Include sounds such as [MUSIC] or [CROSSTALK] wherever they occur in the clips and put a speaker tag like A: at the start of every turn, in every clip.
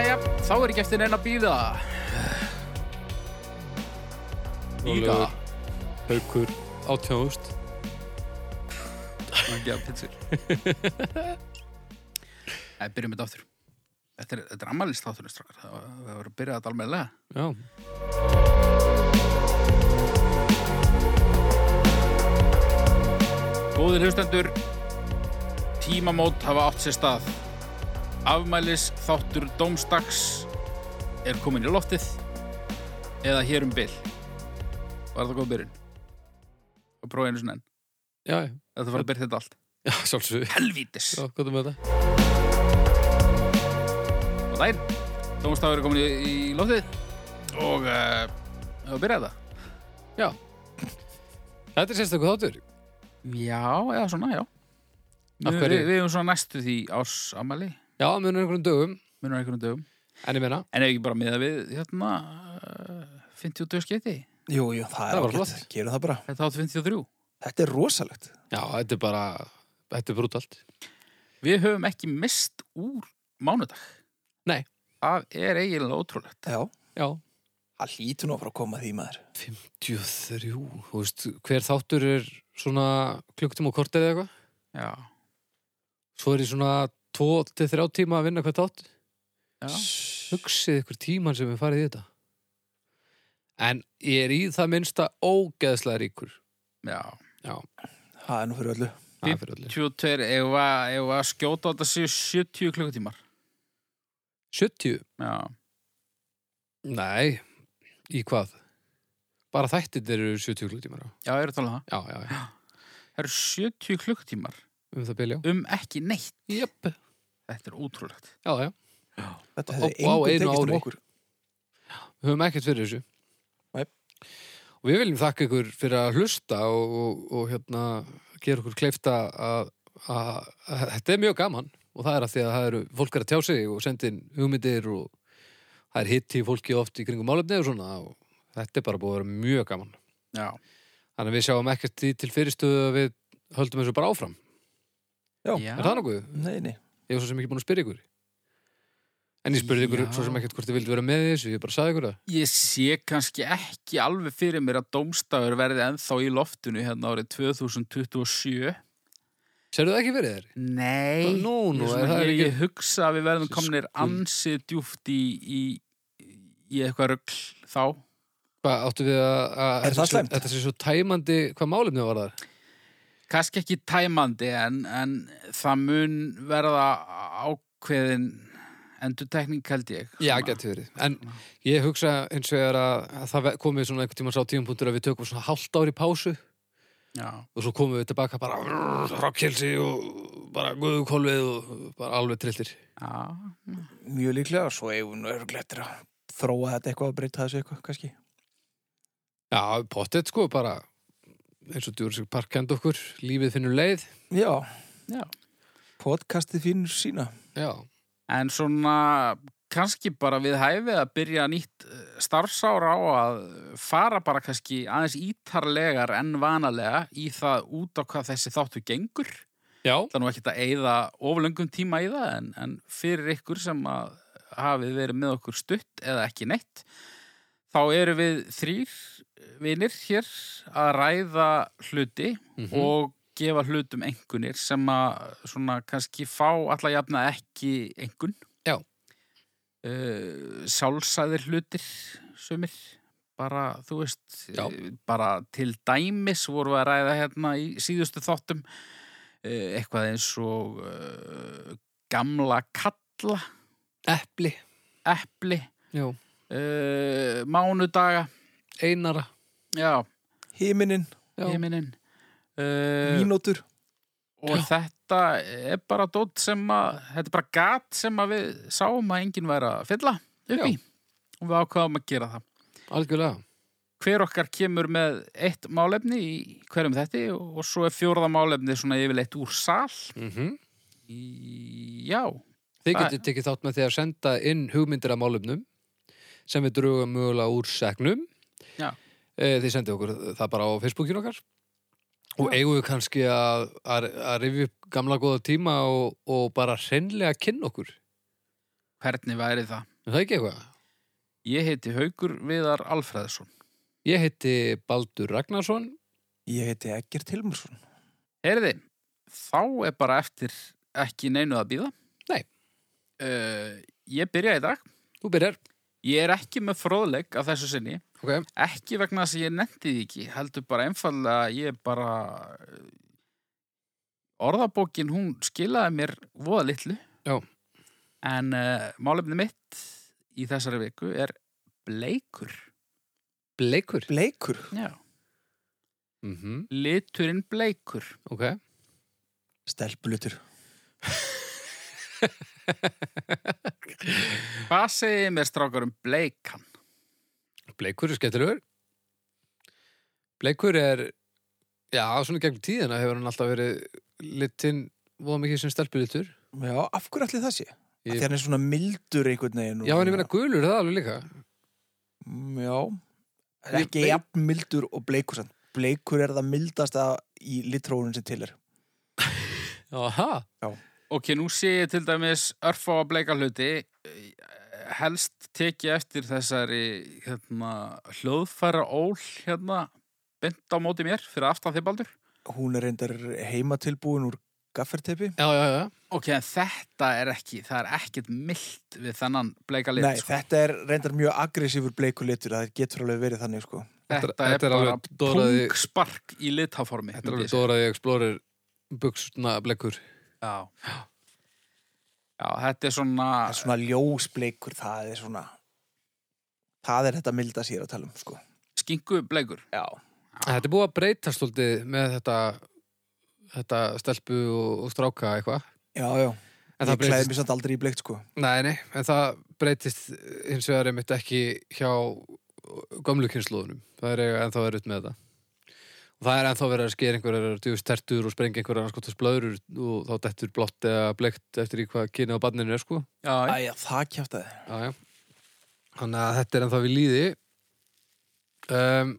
A: er ekki eftir neina að býða Líka
B: Ólafur. Haukur, 18 ágúst
A: Ekki að pitsur [LAUGHS] Það byrjum þetta aftur Þetta er, þetta er ammælist þátturinn strákar Það var- það var að byrja þetta almennilega
B: Já,
A: Góðir hlustendur Tímamót hafa átt sér stað Afmælis þáttur Dómstags Er komin í loftið Eða hér um bil Var það góð byrjun? Og prófa einu sinni enn
B: já, já,
A: Þetta var að byrja þetta allt
B: já, sjálfsög
A: Helvítis
B: Já, gott um þetta
A: Og það er Dómstafur er komin í, í loftið Og uh, Það byrja þetta
B: Já Þetta er sérstakku þáttur
A: Já, eða svona, já
B: Af
A: Við,
B: hverju?
A: við, við erum svona næstu því ás ammæli
B: Já, munur einhverjum dögum,
A: Munum einhvern dögum
B: en ég menna
A: En ef ekki bara miða við hérna eh, 52 skeiti
C: Jú, jú, það
B: Það
C: er
B: var
C: ágætt.
B: flott.
C: Gerum það bara.
A: Þetta átt 53
C: Þetta er rosalegt.
B: Já, þetta er bara, þetta er brútalt
A: Við höfum ekki mist úr mánudag
B: Nei.
A: Það er eiginlega ótrúlegt
C: Já.
B: Já,
C: Það lítur nú að fara að koma því maður.
B: 53, þú veist, hver þáttur er svona klukktum og kortið eða eitthvað
A: Já,
B: Svo er ég svona 2-3 tíma að vinna hvert þátt
A: já.
B: Hugsið ykkur tíman sem við farið í þetta En ég er í það minnsta ógeðslega ríkur
A: já.
B: Já,
C: Það er nú fyrir öllu.
B: það er fyrir öllu
A: 22 ef að, ef að skjóta á þetta séu 70 klukkutímar
B: 70
A: Já,
B: Nei, í hvað? Bara þættir eru 70 klukkutímar á.
A: já, ég er að tala um það
B: Já, já, já,
A: Það eru 70 klukkutímar
B: um það byrja.
A: um ekki neitt
B: Jöpp.
A: Þetta er ótrúlegt
B: Já, já,
C: Þetta
B: Á-
C: hefði
B: á
C: engum
B: einu
C: tekist um
B: ári.
C: okkur.
B: við höfum ekkert fyrir þessu.
C: Nei.
B: Og við viljum þakka ykkur fyrir að hlusta og, og, og hérna gera okkur kleifta að, að, að þetta er mjög gaman og það er að því að það eru fólk er að tjá sig og senda inn hugmyndir og það er hitt í fólki oft í kringum málefni og svona og þetta er bara búið að vera mjög gaman.
A: Já,
B: Þannig að við sjáum ekkert því til fyrirstöðu að við höldum þessu bara áfram.
C: Já.
A: já.
B: Er það nokkuð?
C: Nei, nei.
B: Ég var svo sem ekki búin að spyrja ykkur En ég spurði ykkur
A: Já.
B: svo sem ekkert hvort þið vildi vera með í þessu Ég bara saði ykkur það
A: Ég sé kannski ekki alveg fyrir mér að dómstafur verði ennþá í loftinu hérna árið 2027.
B: Serðu það ekki verið þér?
A: Nei.
B: Nú,
A: ég,
B: nú, er
A: svona,
B: það
A: ég,
B: ekki Sko,
A: ég hugsa að við verðum komnir
B: Skuld.
A: ansið djúft í, í, í eitthvað rögl þá.
B: Hvað áttu við að, að
C: Er
B: þetta sé
C: það
B: svo-
C: slæmt?
B: Þetta sé svo tæmandi hvað málefnið var þar
A: Kannski ekki tæmandi en, en það mun verða ákveðin endurtekning held ég.
B: Já,
A: Svona.
B: geti verið En ég hugsa eins og ég er að, að það ve- komið svona einhvern tíma sá tíumpunktur að við tökum svona hálft ári pásu
A: Já,
B: og svo komum við tilbaka bara rockhilsi og bara guðukolvið og bara alveg trilltir
A: já.
C: Mjög líklega, svo eigum við nú örgulega eftir að þróa þetta eitthvað og breyta þessu eitthvað, kannski.
B: Já, pottet sko bara eins og djúrisik parkend okkur lífið finnur leið
C: Já.
A: Já.
C: Podcastið finnur sína.
B: Já,
A: En svona kannski bara við hæfið að byrja nýtt eh, starfsára á að fara bara kannski aðeins ítarlegar en vanalega í það út á hvað þessi þáttu gengur.
B: já
A: Það er nú ekkert að eyða oflöngum tíma í það en, en fyrir ykkur sem að hafið verið með okkur stutt eða ekki neitt þá eru við þrýr vinir hér að ræða hluti
B: Mhm.
A: og gefa hlutum engunir sem að svona kannski fá alla jafna ekki engun
B: Já.
A: Eh, sjálfsæðir hlutir sumir bara, þú veist,
B: Já.
A: eh, bara til dæmis voru að ræða hérna í síðustu þáttum eh, eitthvað eins og uh, gamla kalla
B: Epli
A: epli
B: Já,
A: uh, mánudaga
B: einara
A: já,
C: Himinin,
B: Já,
A: heiminin
B: Eh.
A: uh,
C: mínútur.
A: og þetta er bara dót sem að, þetta er bara gat sem að við sáum að enginn væri að fylla upp í og við ákvaðum að gera það
B: algjörlega
A: hver okkar kemur með eitt málefni í hverjum þetta og, og svo er fjórða málefni svona yfirleitt úr sal
B: mm
A: í, já,
B: Þið
A: Mhm. Það-
B: getur tekið þátt með því að senda inn hugmyndir að málumnum sem við drugum mögulega úr segnum
A: Já.
B: Eh, Þið sendið okkur það bara á Facebookin okkar og eigum við kannski að, að, að rifja upp gamla góða tíma og, og bara hreinlega kynna okkur
A: hvernig væri það
B: Er það ekki eitthvað?
A: Ég heiti Haugur Viðar Alfreðsson.
B: Ég heiti Baldur Ragnarsson.
C: Ég heiti Egert Hilmarsson.
A: Heyriði, þá er bara eftir ekki neinu að býða.
B: Nei.
A: Eh, ég byrja í dag.
B: Þú byrjar.
A: Ég er ekki með fróðleik að þessu sinni.
B: Ok.
A: Ekki vegna þess að ég nefndi því ekki. Heldur bara einfallega að ég bara... eh, Orðabókin, hún skilaði mér voða litlu.
B: Já.
A: En uh, málefni mitt í þessari viku er bleikur.
B: Bleikur.
C: Bleikur.
A: Já.
B: Mm
A: Mhm. Liturinn bleikur.
B: Ok.
C: Stelpulutur.
A: Hvað segir mér strákar um bleikan?
B: Bleikur er skemmtilegur. Bleikur er, já, svona gegn tíðina hefur hann alltaf verið litinn voða mikið sem stelpulitur.
C: Já, af hverju allir það sé?
B: Ég-
C: Ég... Þegar hann er svona mildur einhvern veginn. og
B: Já, en ég
C: svona-
B: meina gulur er það alveg líka.
C: Mm, Já. Það
B: Ég-
C: er ekki jafn mildur og bleikur sann. Bleikur er það mildasta í litróunum sem til er.
B: Aha.
A: Ok, nú sé ég til dæmis örfá að bleika hluti Eh, helst tekið eftir þessari hérna, hljóðfæra ól hérna bent á móti mér fyrir aftan þið baldur
C: Hún er reyndar heimatilbúin úr gafferteipi.
B: Já, já, já.
A: Ok, en þetta er ekki, það er ekkert mild við þennan bleika lit
C: Nei,
A: sko.
C: þetta er reyndar mjög aggressífur bleikur litur. Það getur alveg verið þannig, sko.
A: þetta,
B: þetta- þetta er
A: er bara
B: alveg doðraði-
A: pungspark í litháformi
B: Þetta er alveg dóraði Explorer buksna bleikur.
A: Já. Já, þetta er svona,
B: Ah.
C: Það er svona ljósbleikur, það er svona... Það er þetta milda sér að tala um, sko.
A: skingu bleikur
C: Já.
B: Þetta er búið að breyta stoltið með þetta, þetta stelpu og, og stráka eitthvað.
C: Já, já.
B: En
C: ég
B: það
C: klæði
B: breytist,
C: mér samt aldrei í bleikt, sko.
B: nei, nei, en það breytist eh, hins vegar einmitt ekki hjá eh, gömlu kynnslóðunum. Það er eiga ennþá verið með þetta. Og það er ennþá verið að skera einhverjar djúfist tertur og sprengja einhverjar anskotas blöður og þá dettur blott eða bleikt eftir í hvað kynni á barninu er sko.
A: Já,
C: Æja, það kjátaði.
B: Já, já. Þannig að þetta er ennþá við líði. Um,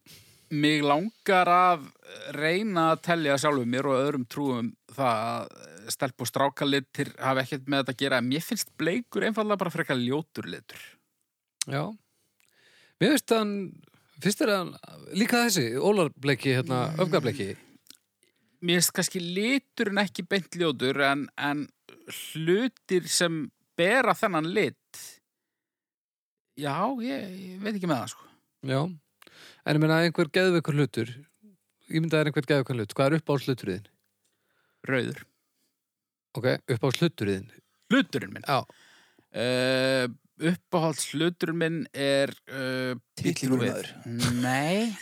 A: mig langar að reyna að telja sjálfum mér og öðrum trúum það að stelp og strákalitir hafa ekkert með þetta að gera en mér finnst bleikur einfallega bara frekar ljótur litur
B: Já Mér finnst hann Fyrst er hann líka þessi Ólarbleki, hérna, öfgableki
A: mér finnst kannski liturinn ekki beint ljótur en, en hlutir sem bera þennan lit já, ég, ég veit ekki með það sko
B: Já En ég meina einhver geðveikur hlutur Ég myndi að það er einhver geðveikur hlut Hvað er upp á sluturiðin?
A: rauður,
B: Ok, upp á sluturiðin
A: hluturinn minn
B: Já,
A: uh, uppáhalds hluturinn minn er uh,
C: Titlir úr maður.
A: nei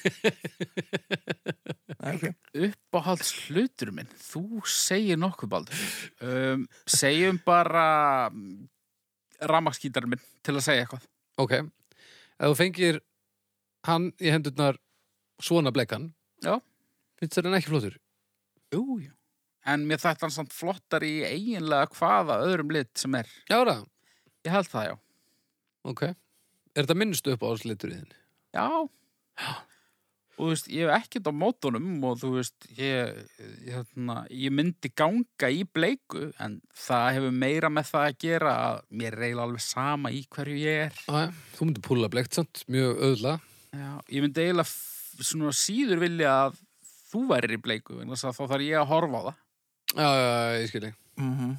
C: Nei, ok.
A: uppáhalds hlutur minn þú segir nokkuð baldur um, segjum bara ramaskítar minn til að segja eitthvað
B: ok Ef þú fengir hann í hendurnar svona blekan
A: Já.
B: Finnst þér hann ekki flottur?
A: jú, jú. en mér þætti hann samt flottar í eiginlega hvaða öðrum lit sem er
B: Já, það,
A: ég held það já
B: ok Er þetta minnstu upp á sluturiðin?
A: já og þú veist, ég hef ekkert á mótunum og þú veist, ég, ég, hérna, ég myndi ganga í bleiku en það hefur meira með það að gera að mér reyla alveg sama í hverju ég er
B: Já, já. þú myndir púla blekt samt, mjög auðla
A: Já, ég myndi eiginlega f- svona síður vilja að þú værir í bleiku vegna þess að þá þarf ég að horfa á það.
B: Já, já, já, ég skilji
C: Mhm.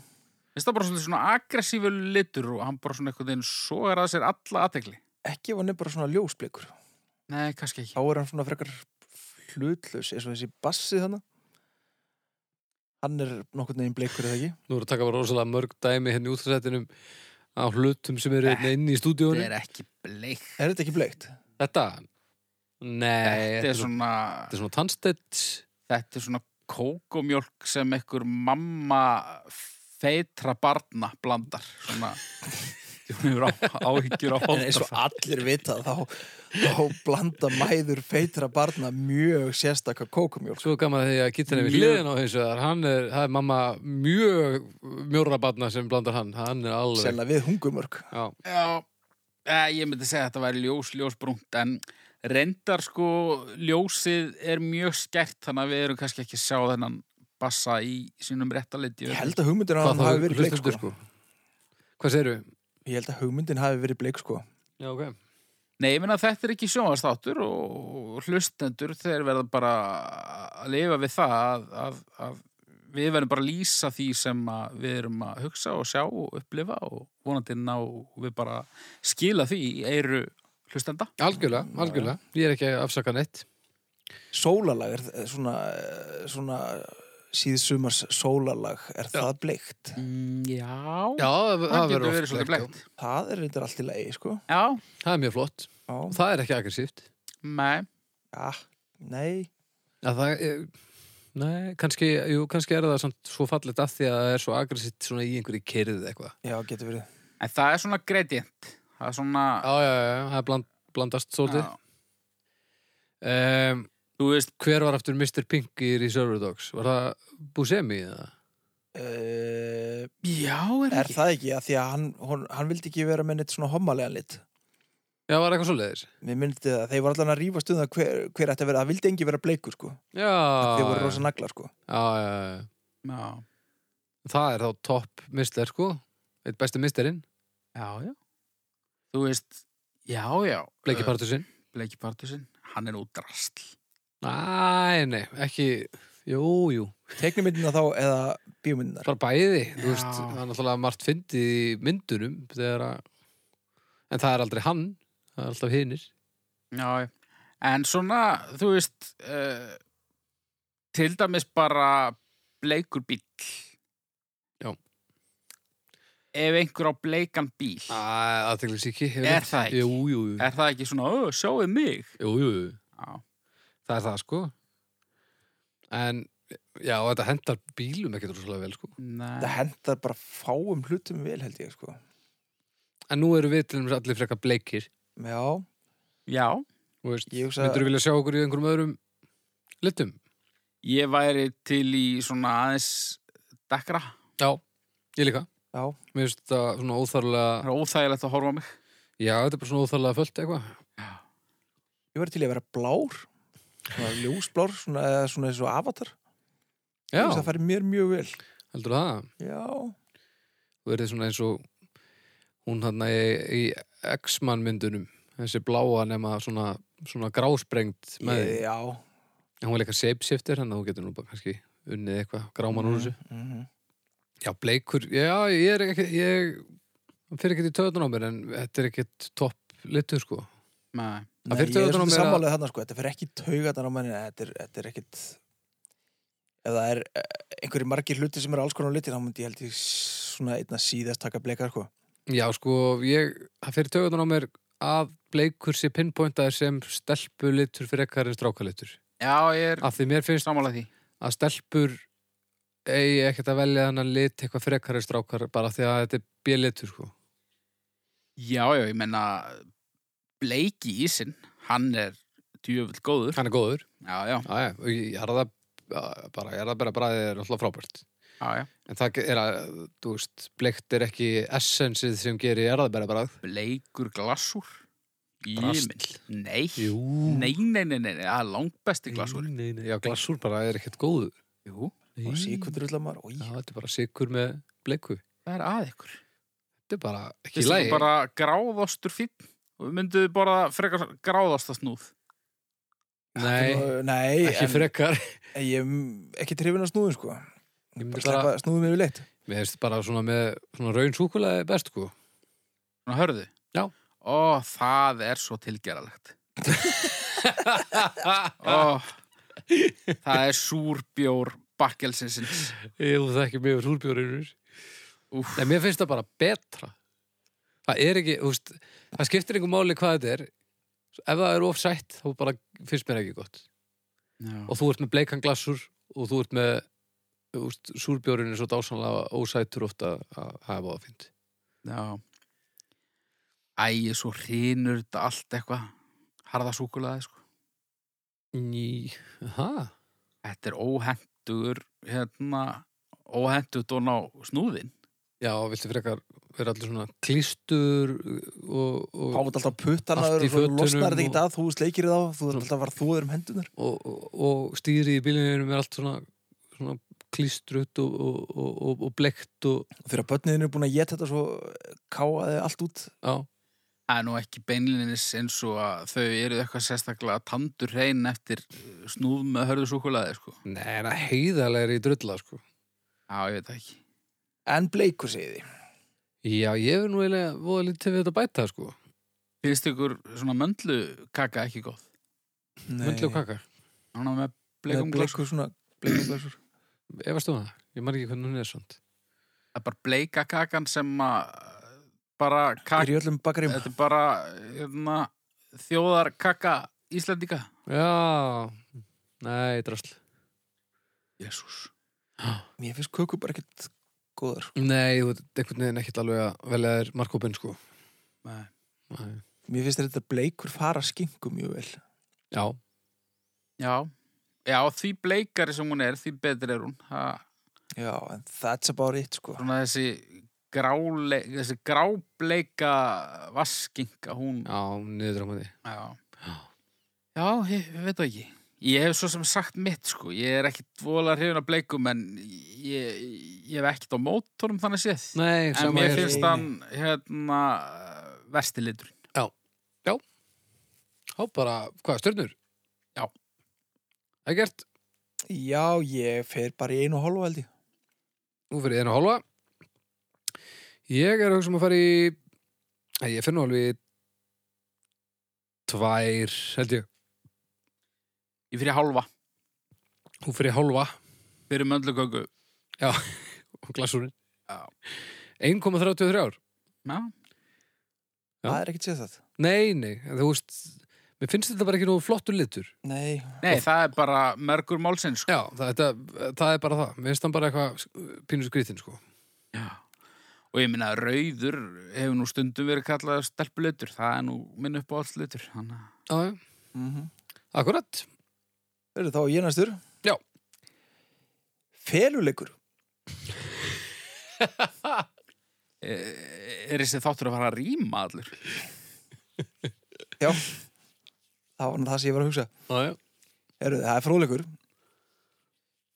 A: Finnst það bara svolítið svona aggressífur litur og hann bara svona einhvern veginn sogar að sér alla aðtegli.
C: Ekki ef hann er bara svona ljósbleikur.
A: Nei, kannski ekki.
C: Þá er hann svona frekar hlutlaus, eins og þessi bassi þannig. Hann er nokkurn veginn bleikur eða ekki.
B: Nú erum við að taka bara rosalega mörg dæmi hérna í útrættinum á hlutum sem eru hérna inni í
A: Þetta
B: stúdíónu.
A: er ekki bleik.
C: Er þetta ekki bleikt?
B: Þetta? Nei,
A: Þetta er svona,
B: þetta er svona tannstett.
A: þetta er svona kókomjólk sem einhver mamma feitra barna blandar. Svona, [LAUGHS] hún hefur á- áhyggjur á [LAUGHS]
C: En eins og
A: hóttar.
C: allir vita þá, þá blanda mæður feitra barna mjög sérstakka kókumjólk.
B: Svo gaman því að gítan er við
A: Mjög-
B: hliðin á þessu þar. Hann er, það er mamma mjög mjóra barna sem blandar hann. Hann er alveg.
C: Senna við hungumörk.
B: Já,
A: Já, eh, ég myndi segja að þetta væri ljós, ljósbrúnt, en reyndar sko ljósið er mjög skert, þannig að við erum kannski ekki að sjá þennan bassa í sínum rétta liti.
C: Ég held að hugmyndin á
B: hvað
C: hann
B: þá
C: hafi verið bleik
B: hlustendur
C: sko.
B: sko. Hvað segir við?
C: Ég held að hugmyndin hafi verið bleik sko
B: Já, ok.
A: Nei, ég meina að þetta er ekki sjónvastáttur og hlustendur þeir verða bara að lifa við það að, að, að við verðum bara að lýsa því sem að við erum að hugsa og sjá og upplifa og vonandi ná við bara skila því í eiru hlustenda.
B: Algjörlega, algjörlega. Ég er ekki að afsaka neitt.
C: Sólalag er eh, svona, eh, svona síðsumars sólalag er það bleikt
A: Mm, já,
B: Já, það,
A: það
B: verður
A: getur
B: oft
A: verið svolítið
B: bleikt,
A: blegt.
C: Það er reyndar allt í lagi sko
A: Já,
B: já. Það er mjög flott.
C: Já,
B: Og það er ekki aggressíft.
A: nei,
C: ja, nei
B: Já, það er... Eh, Nei, kannski, jú, kannski er það samt svo fallet að því að það er svo aggressíft svona í einhverju kyrðið eitthvað.
C: Já, getur verið
A: en það er svona gradient. Það er svona...
B: Já, já, já, já, það er bland, blandast svolítið.
A: Já.
B: Um,
A: Þú veist,
B: hver var aftur Mr. Pink í Reserver Dogs? Var það Buscemi eða?
C: uh,
A: já, er,
C: Er
A: ekki.
C: það ekki? Af Því að hann, hon, hann vildi ekki vera með neitt svona hommalega lit
B: Já, var eitthvað svoleiðis?
C: Mér myndi það, þeir voru allan að rífast um það hver, hver ætti að vera, það vildi engi vera bleikur sko
B: Já,
C: Þeir voru
B: já,
C: rosa naglar sko
B: já, já, já.
A: Já,
B: Það er þá topp mister, sko. Eitt besti misterinn,
A: já, já. Þú veist, já, já.
B: Blakey Partusinn.
A: Blakey Partusinn, hann er nú drastl.
B: Næ, nei, ekki, jú, jú.
C: Teknimyndina þá eða bíómyndinar
B: bara bæði,
A: Já.
B: þú veist, það er náttúrulega margt fyndið í myndunum þegar að, en það er aldrei hann það er alltaf hinnir
A: Já, já. en svona, þú veist, uh, til dæmis bara bleikur bíl.
B: Já.
A: Ef einhver á bleikan bíl,
B: aðteglis ekki
A: Er það ekki?
B: Jú, jú, jú,
A: er það ekki svona, "Ó, sjáðu mig?
B: jú, jú, jú.
A: Já,
B: það er það sko en, já, og þetta hendar bílum ekkert rosalega vel sko
C: Það
A: nei.
C: hendar bara fáum hlutum vel held ég sko
B: en nú eru við til þess allir frekar bleikir
C: Já,
A: Já,
B: þú veist,
C: ég hugsa
B: myndur við vilja sjá okkur í einhverjum öðrum litum?
A: ég væri til í svona aðeins dekkra.
B: Já, ég líka
C: Já,
B: mér finnst það svona
A: Það
B: óþarlega
A: er óþægilegt að horfa á mig.
B: já, þetta er bara svona óþarlega fullt eitthvað
C: ég var til í að vera blár svona ljósblár, svona, eða svona eins og avatar
B: já,
C: það færi mér mjög vel
B: heldur það
C: Já,
B: þú verður svona eins og hún hann í, í X-Man myndunum þessi bláa nema svona, svona grásprengt með
C: ég,
B: því
C: já
B: En hún er líka shapeshifter hann að hún getur nú bara kannski unnið eitthvað gráman úr þessu
C: mm -hmm.
B: já, bleikur, já, ég er ekki ég hann fyrir ekkert í töðun á mér en þetta er ekkert topp litur sko
A: Nei.
B: Það
C: Nei,
B: fyrir
C: ég er
B: þetta nú
C: svolítið
B: meira-
C: sammálið þarna sko, þetta fyrir ekki taugatan á manni, þetta er, þetta er ekkit ef það er eh, einhverjir margir hluti sem eru alls konar litir, þá myndi ég held ég s- svona einna síðast taka bleikar sko.
B: já, sko, ég, það fyrir töðun á mér að bleikur sé pinpointaður sem stelpulitur fyrir ekkar en strákalitur
A: Já, ég er
B: af því mér finnst
A: samanlega því.
B: að stelpur eigi ekkert að velja þannig lit eitthvað frekari strákar bara því að þetta er bjölitur sko.
A: Já, já, ég menna bleiki ísinn, hann er djöfull góður.
B: Hann er góður.
A: Já, já,
B: Já, já, og ég er það bara, ég er það bara bræðið er alltaf frábært.
A: já, já.
B: En það er að, þú veist, bleikt er ekki essensið sem gerir erðabæra bræð.
A: Bleikur glasúr.
B: Drasl.
A: Jímil. Nei.
B: Jú.
A: Nei, nei, nei, nei, nei, það er langbesti glasúr.
B: Nei, nei, já, glasúr bara er ekkert góður.
A: Jú,
C: og síkundur öll að maður,
B: Já,
C: oi,
B: þetta er bara sikur með bleiku.
A: það er að ykkur.
B: Þetta er bara ekki
A: Þið
B: læg.
A: er bara gráðastur fín og við mynduðu bara frekar gráðasta snúð.
B: Nei,
C: Nú, nei
B: ekki
C: en,
B: frekar.
C: en ég er ekki trefin að snúðum sko.
B: Ég
C: bara
B: myndi
C: sleppa snúðum yfir leitt
B: [LAUGHS] Mér finnst bara svona með svona raun súkulega
A: [LAUGHS]
B: best, sko.
A: Svona hörðu?
B: Já.
A: Ó, það er svo tilgeralegt. Ó, [LAUGHS] það er súrbjór bakkelsins.
B: Jú, það ekki mjög súrbjórunur.
A: Úf,
B: Nei, mér finnst það bara betra. Það er ekki, þú veist, það skiptir einhver máli hvað þetta er. Ef það er ofsætt, þá bara finnst mér ekki gott.
A: já.
B: Og þú ert með bleikan glassur og þú ert með, þú veist, súrbjórinn er svo dásanlega ósættur oft að að það er báða fint.
A: Já. Æ, svo hrinur þetta allt eitthvað. Harðasúkulaði, sko.
B: Ný, ha?
A: Þetta er óhendur, hérna, óhendur dón á snúðin.
B: Já, viltu frekar vera allir svona klístur og, og,
C: Hátt alltaf puttanaður
B: Allt í
C: og svo
B: fötunum og-
C: losnar þetta ekkert að, þú sleikir þá þú ert alltaf að fara þúður um hendunar
B: og, og, og stýri í bílinum er allt svona, svona klístrut og, og, og, og, og blekt og
C: Og þegar börniðin er búin að geta þetta svo eh, káaði allt út
B: já,
A: Það er nú ekki beinlinis eins og að þau eru eitthvað sérstaklega tandur hrein eftir eh, snúð með hörðu súkulaði, sko.
B: neina heiðarlega er í drulla sko.
A: Já, ég veit það ekki.
C: En bleikur segið því
B: já, ég hefur nú eiginlega voða lítið við þetta að bæta sko.
A: Finnst ykkur svona möndlukaka ekki góð?
B: möndlu og kaka,
A: Svona með
C: Bleikum
A: bleikum glasur.
C: svona Bleikum glasur
B: ef að stóða um það ég man ekki hvernig hún er svont
A: Það er bara bleika kakan sem að eh, bara
C: Er
A: kaka,
C: í öllum bakarim
A: þetta er bara hérna, þjóðar kaka Íslandika.
B: já, nei, drasl
A: Jésús.
C: Mér finnst köku bara ekkert góðar sko.
B: nei, þú veit, einhvern veginn ekkert alveg að velja þér markkópin sko. nei.
C: Mér finnst þetta bleikur fara skingu mjög vel
B: já,
A: Já. Já, því bleikari sem hún er, því betri er hún. Það
C: Já, en that's about it sko
A: svona þessi gráleik, þessi grábleika vaskinga, hún
B: já, niður á maður
A: já, já ég, ég veit það ekki ég hef svo sem sagt mitt sko ég er ekkit vola hrifin af bleikum en ég, ég hef ekkit á mótorum þannig séð
B: nei,
A: en
B: sama
A: mér
B: hér.
A: finnst
C: Nei.
A: hann hérna versti liturinn
B: Há bara, hvað, stjörnur?
A: Já.
B: Ekkert,
C: Já, ég fer bara í einu og hálfa held ég
B: nú fyrir einu og hálfa. Ég er að hugsa um að fara í, Æ, ég finn nú alveg í tvær, held ég.
A: ég fyrir hálfa
B: Nú fyrir í hálfa
A: fyrir möndlugöggu
B: og glasurinn.
A: Já.
B: 1,33
A: já,
B: ár. Já.
C: Það er ekkert séð það
B: Nei, nei, en þú veist, mér finnst þetta bara ekki nú flottur litur.
C: Nei,
A: nei það er bara mergur málsinn sko
B: Já, það, þetta, það er bara það. Mér finnst hann bara eitthvað pínur skrýtin, sko.
A: já. og ég minna rauður hefur nú stundum verið kallað stelpulitur það er nú minn upp á alls litur þannig að
B: Já, já.
C: mm
B: mhm.
C: -hmm.
B: Akkurat.
C: Verður þá ég næstur?
B: Já.
C: Feluleikur
A: Eh, er þessi þáttur að fara að rýma allur
C: Já [LAUGHS] Það var nú það sem ég var að hugsa
B: Já, já.
C: Heru, það er fróðleikur.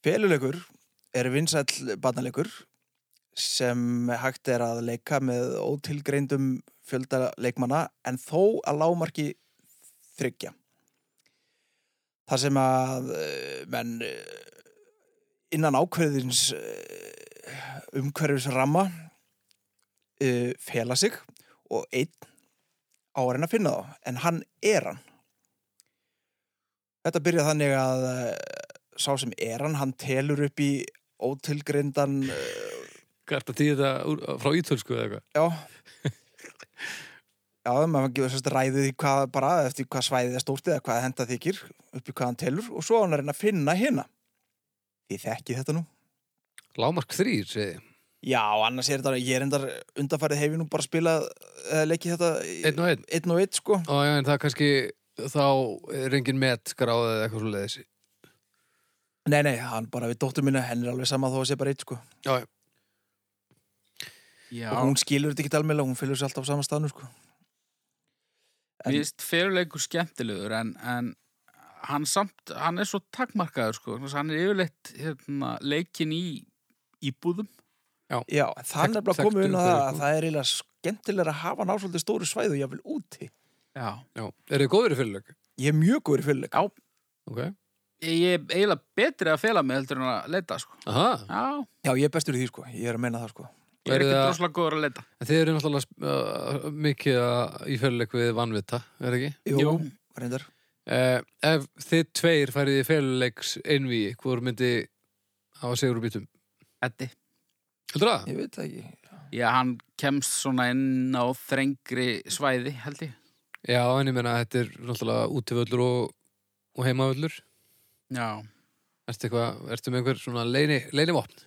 C: Feluleikur er vinsæll barnaleikur sem hægt er að leika með ótilgreindum fjölda leikmanna en þó að lágmarki þryggja. Það sem að eh, menn eh, innan ákveðins eh, umhverfisramma eh, fela sig og einn á að reyna að finna þá en hann er hann. Þetta byrja þannig að eh, sá sem er hann, hann telur upp í ótilgrindan,
B: Hvað er þetta tíð þetta úr- frá ítölsku eða eitthvað?
C: já, já, maður gefur sérst ræðið í hvað bara, eftir hvað svæðið er stórt eða hvað henda þykir, upp í hvað hann telur og svo á hann að reyna að finna hérna. Þið þekki þetta nú?
B: Lámark þrýr, segi ég.
C: Já, annars er þetta, ég er endar undanfarið hefði nú bara spilað eða leikið þetta í-
B: Einn og einn.
C: einn og einn, sko.
B: Já, já, en það er kannski, þá er engin met skráð eða eitthvað svo leiðis.
C: Nei, nei, hann bara við dóttur minna, henn er alveg sama þó að sé bara einn, sko.
B: Já, já.
A: Já,
C: Og hún skilur þetta ekki alveg, hún fylgur sér alltaf á sama staðnum, sko. en-
A: mér finnst feruleikur skemmtilegur en, en hann samt, hann er svo takmarkaður sko, Þannig að hann er yfirleitt hérna, leikin í íbúðum
C: Já, en það er
B: Þekkt-
C: nefnilega komið inn á
B: þekktur fyrir,
C: það að
B: sko.
C: það er eiginlega skemmtilega að hafa hann á svolítið stóru svæðu jáfnvel úti.
A: Já,
B: já. Er þið góður í fyrirleik?
C: Ég er mjög góður í fyrirleika.
B: Ok.
A: ég ég er eiginlega betri að fela mig heldur en að leita sko.
B: Aha.
A: Já,
C: Já, ég er bestur í því sko, ég er að meina það sko.
A: ég er
B: Verið
A: ekki
B: að-
A: droslega góður að leita
B: En þið eru náttúrulega uh, mikið að- í fyrirleik við vannvita, er það ekki?
C: Jú,
A: Jú.
C: reyndar.
B: Uh, ef þið tveir færið í fyrirleiks einví, hvor myndi hafa sigur úr býtum?
A: Eddi.
B: Heldur það?
C: Ég veit það ekki.
A: Já, hann kemst svona inn á þrengri svæði held ég
B: Já, en ég meina að þetta er náttúrulega útivöllur og, og heimavöllur.
A: Já,
B: Ertu, eitthvað, ertu með einhver svona leini, leinivopn?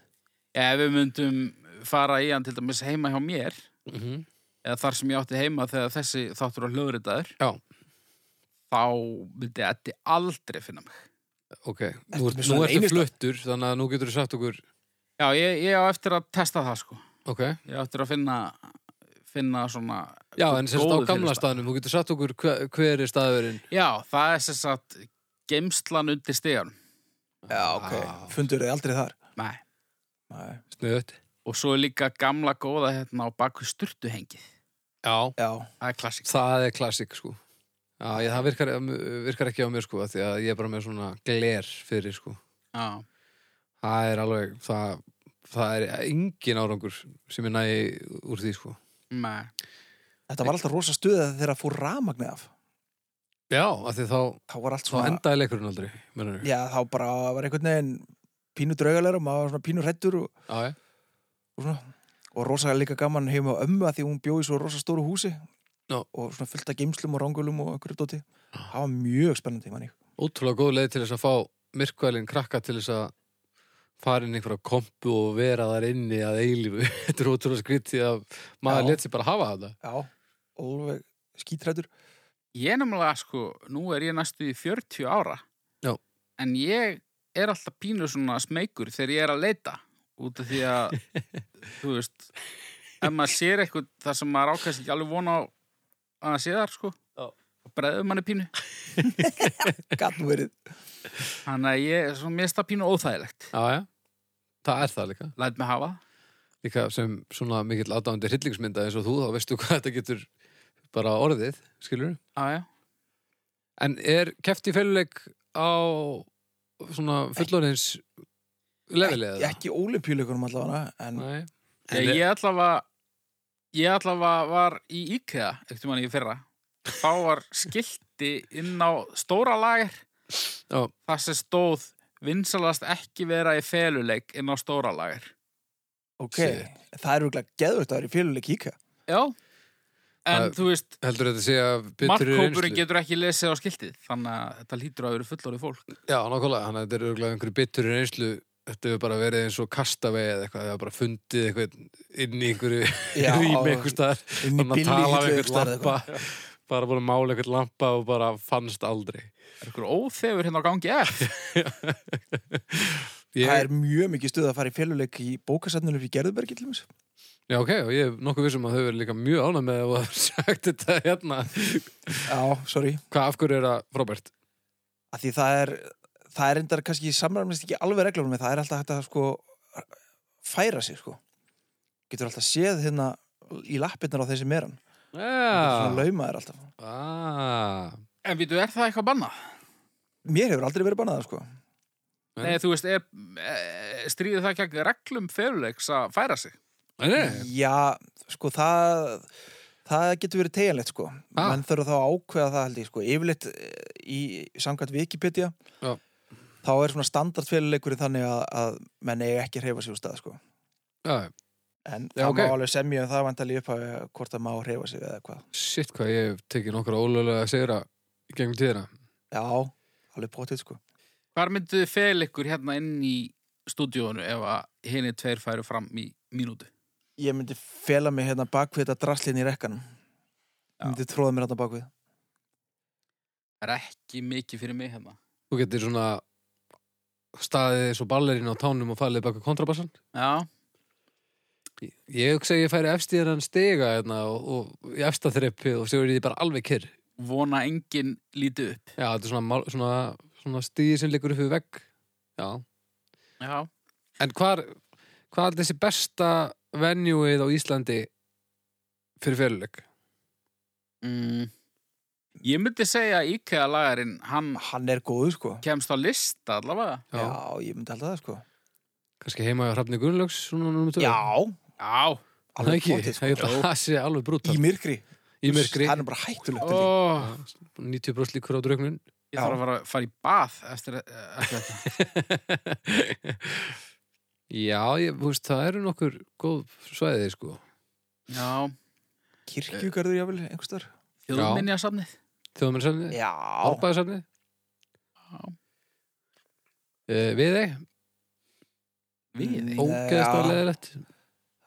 A: ef við myndum fara í hann til dæmis heima hjá mér
B: Mm
C: Mhm.
B: -hmm.
A: eða þar sem ég átti heima þegar þessi þáttur var hlöðritaður
B: Já.
A: þá myndi Eddi aldrei finna mig
B: Ok, nú,
C: Ertu með
B: ert- nú
C: svona
B: ertu
C: leynistað?
B: fluttur, þannig að nú getur þú sagt okkur,
A: Já, ég, ég á eftir að testa það sko
B: ok,
A: ég á eftir að finna finna svona
B: Já, en sérst á
A: góður
B: gamla
A: fyrirstað.
B: staðnum, þú getur sagt okkur hver, hver er staðurinn.
A: Já, það er sem sagt geimslan undir stegan
C: Já, ok.
B: Ah.
C: Fundur þið aldrei þar.
A: Nei.
C: Nei.
B: Snuðut.
A: Og svo er líka gamla góða hérna á baku sturtuhengið.
B: Já.
C: Já,
A: Það er klassik.
B: Það er klassik, sko. Já, ég, það virkar, virkar ekki á mér, sko, af því að ég er bara með svona gler fyrir, sko.
A: Já.
B: Það er alveg, það, það er engin árangur sem ég næ úr því, sko.
A: Nei.
C: þetta var alltaf rosa stuð þegar þeirra fór rafmagnið af
B: Já, af því þá,
C: þá var allt
B: þá
C: svona
B: endaði leikurinn aldrei, mennur.
C: já, þá bara var einhvern veginn pínu draugalegur og maður var svona pínu hrettur og,
B: Já, já.
C: og svona og rosa líka gaman heima á ömmu að því hún bjóði svo rosa stóru húsi
B: Já. Ah.
C: og svona fullt af geimslum og rangulum og einhverju dóti það var mjög spennandi manni
B: Ótrúlega góð leið til þess að fá myrkvælinn krakka til þess að fara inn í einhverja kompu og vera þar inni að eilífu. [LAUGHS] Þetta er ótrúlega skrítið að maður
C: Já.
B: let sér bara hafa þetta.
C: já, alveg skítrættur
A: Ég er nefnilega, sko, nú er ég næstu í 40 ára.
B: Já.
A: En ég er alltaf pínu svona smeykur þegar ég er að leita. Út af því að,
B: [LAUGHS]
A: þú veist, ef maður sér eitthvað þar sem maður ákast ekki alveg vona á að það sé þar, sko.
B: Já.
A: Breðum manni pínu.
C: gatt nú
B: [LAUGHS]
C: verið
A: Þannig að ég, svo mér stað pínu óþægilegt.
B: Já, já. Það er það líka.
A: Læt mig hafa það.
B: Líka sem svona mikill aðdáðandi hryllingsmynda eins og þú, þá veistu hvað þetta getur bara orðið, skilur
A: Já, já.
B: En er keft í feluleik á svona fullorins levelið? eða?
C: ekki ólimpíuleikunum allavega en
B: Nei.
A: Ég, ég allavega ég allavega var í IKEA eftir manni í fyrra þá var skilti inn á stóra lager
B: Já,
A: þar sem stóð vinsalast ekki vera í feluleik inn á stóra lager
C: ok,
B: Shit.
C: það er rúglega geðvögt að vera í féluleik
B: [LAUGHS]
C: kíka
A: Já En
B: Það-
A: þú veist,
B: heldur þetta að segja betri
A: markkópurinn getur ekki lesið á skiltið þannig að þetta lítur að vera fullorðið fólk
B: Já, nákvæmlega, þannig að þetta er auðvitað einhverju bittur reynslu Þetta hefur bara verið eins og kastavegi eða eitthvað, það hefur bara fundið eitthvað inn í einhverju
C: Já,
B: [LAUGHS] rými einhvers staðar
C: inn í
B: Þannig að
C: billi
B: tala við
C: hillu
B: einhvern lampa bara búin að mála einhvern lampa og bara fannst aldrei
A: Er ykkur óþefur hérna á gangi F
B: [LAUGHS] ég,
C: það er mjög mikið stuð að fara í féluleik í bókasatnunum í Gerðubergi til þess
B: Já, ok, og ég er nokkuð vissum að þau verið líka mjög ánæg með og hafa [LAUGHS] sagt þetta hérna
C: já, sorry
B: Hvað af hverju er það frábært?
C: að því það er það er endar kannski samræmist ekki alveg reglunum en það er alltaf hægt að sko færa sig sko getur alltaf séð hérna í lappirnar á þessi meran svona
B: Já,
C: laumaður alltaf
B: ah,
A: En við þú, er það eitthvað bannað?
C: mér hefur aldrei verið bannað það, sko
B: Nei.
A: Nei, þú veist, er, e, stríðið það ekki reglum feluleiks að færa sig?
B: nei, nei,
C: já, sko það það getur verið tegjanlegt sko
B: Ha?
C: menn þurfa þá að ákveða það held ég sko yfirleitt eh, í samkvæmt Wikipedia
B: Já.
C: þá er svona standardféluleikurinn þannig að, að menn eigi ekki að hreyfa sig úr stað sko
B: já,
C: en
B: Já,
C: það
B: ok.
C: má alveg semja um það vantalið upp að hvort það má hreyfa sig eða hvað
B: shit hvað ég hef tekið nokkra ólega að segja í gegnum tíðina
C: Já, alveg potið sko
A: Hvar myndu þið fel ykkur hérna inn í stúdíónu ef að henni tveir færu fram í mínútu?
C: Ég myndi fela mig hérna bakvið þetta draslinn í rekkanum
A: Já.
C: Ég myndi tróða mér hérna bakvið
A: Það er ekki mikið fyrir mig hérna.
B: Þú getur svona staðið eins og ballerinn á tánum og fallið baka kontrabassan.
A: Já,
B: Ég hugsa að ég færi efstíðar en stiga hérna og, og í efsta þreppi og séu því bara alveg kyrr.
A: vona enginn lítið upp.
B: Já, þetta er svona, mál- svona, svona stíði sem liggur upp við vegg. Já.
A: Já.
B: En hvar, hvað er þessi besta venjúið á Íslandi fyrir fyrirleik?
A: Mm. Ég myndi segja að IKEA-lagarinn, hann
C: Hann er góður sko
A: kemst á lista allavega.
C: Já, ég myndi alltaf það sko
B: Kannski heima á Hrafni Gunnlaugs svona númur tvö.
C: Já,
A: Já.
B: alveg
C: alveg
B: [LAUGHS] ekki.
C: potið
B: Ég held
C: sko
B: að Það sé alveg brútt.
C: Í myrkri
B: Í myrkri.
C: Hann er bara hættulegt held ég.
A: Oh,
B: 90% líkur á draugnun.
A: ég þarf að fara, fara í bað eftir, eftir þetta.
B: [LAUGHS] Já, ég, þú veist, það eru nokkur góð svæðið, sko.
A: Já,
C: Kirkjugarður jáfnvel einhvers þar
A: þjóðminja samnið.
B: Þjóðmennsafni,
C: Já,
B: Árbæðasafni.
A: Já.
B: Uh, við þig,
A: Við.
C: Nei,
B: ógeðast
C: já.
B: og leðilegt.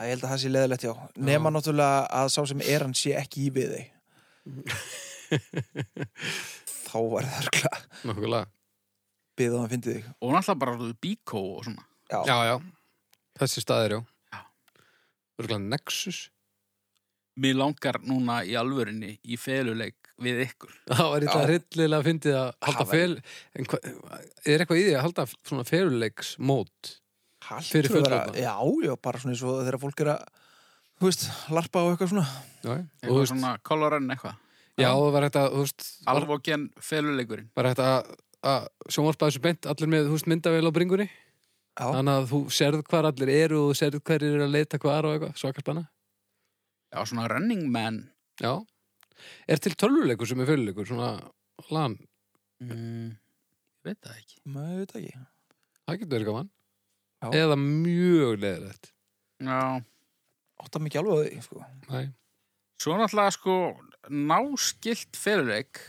C: það ég held að það sé leðilegt já Nema náttúrulega að sá sem er hann sé ekki í
B: [LAUGHS]
C: við þig Þá var það örgla
B: Nákvæmlega.
C: Byðið að hann fyndi þig
A: Og náttúrulega bara orðið bíkó og svona.
C: Já.
B: Já, já. Þessi staðir, já.
A: Já.
B: Örgulega Nexus.
A: Mér langar núna í alvörinni í feluleik við ykkur.
B: [LAUGHS] Það var eitthvað
C: Já.
B: hryllilega að fyndið að halda
C: Það
B: fel... En hva, er eitthvað í því að halda svona feluleiksmót? Fyrir
C: hlýtur að vera-
B: fullorðna?
C: Já, já, bara svona eins og þegar fólk er að, þú veist, larpa á eitthvað svona.
B: Já, já. og, þú
A: Eitthvað
B: veist,
A: svona kolorann eitthvað.
B: já, það var hægt að, þú veist, var,
A: Alvogen feluleikurinn.
B: var hægt að, að sjónvarpa þessu beint allir með, þú veist, myndavél á bringunni.
C: Já,
B: Þannig að þú serð hvar allir eru og þú serð hver eru að leita hvar og eitthvað, svakart hana.
A: Já, svona running man.
B: Já. Er til tölvuleikur sem er fyrirleikur, svona lan,
A: Mm, ég veit það ekki.
C: maður veit það ekki.
B: það getur verið gaman.
C: Já.
B: Eða mjög leðilegt.
A: Já,
C: Átta mikið alveg á því, sko.
B: Næ,
A: svo náttúrulega sko náskilt feluleik,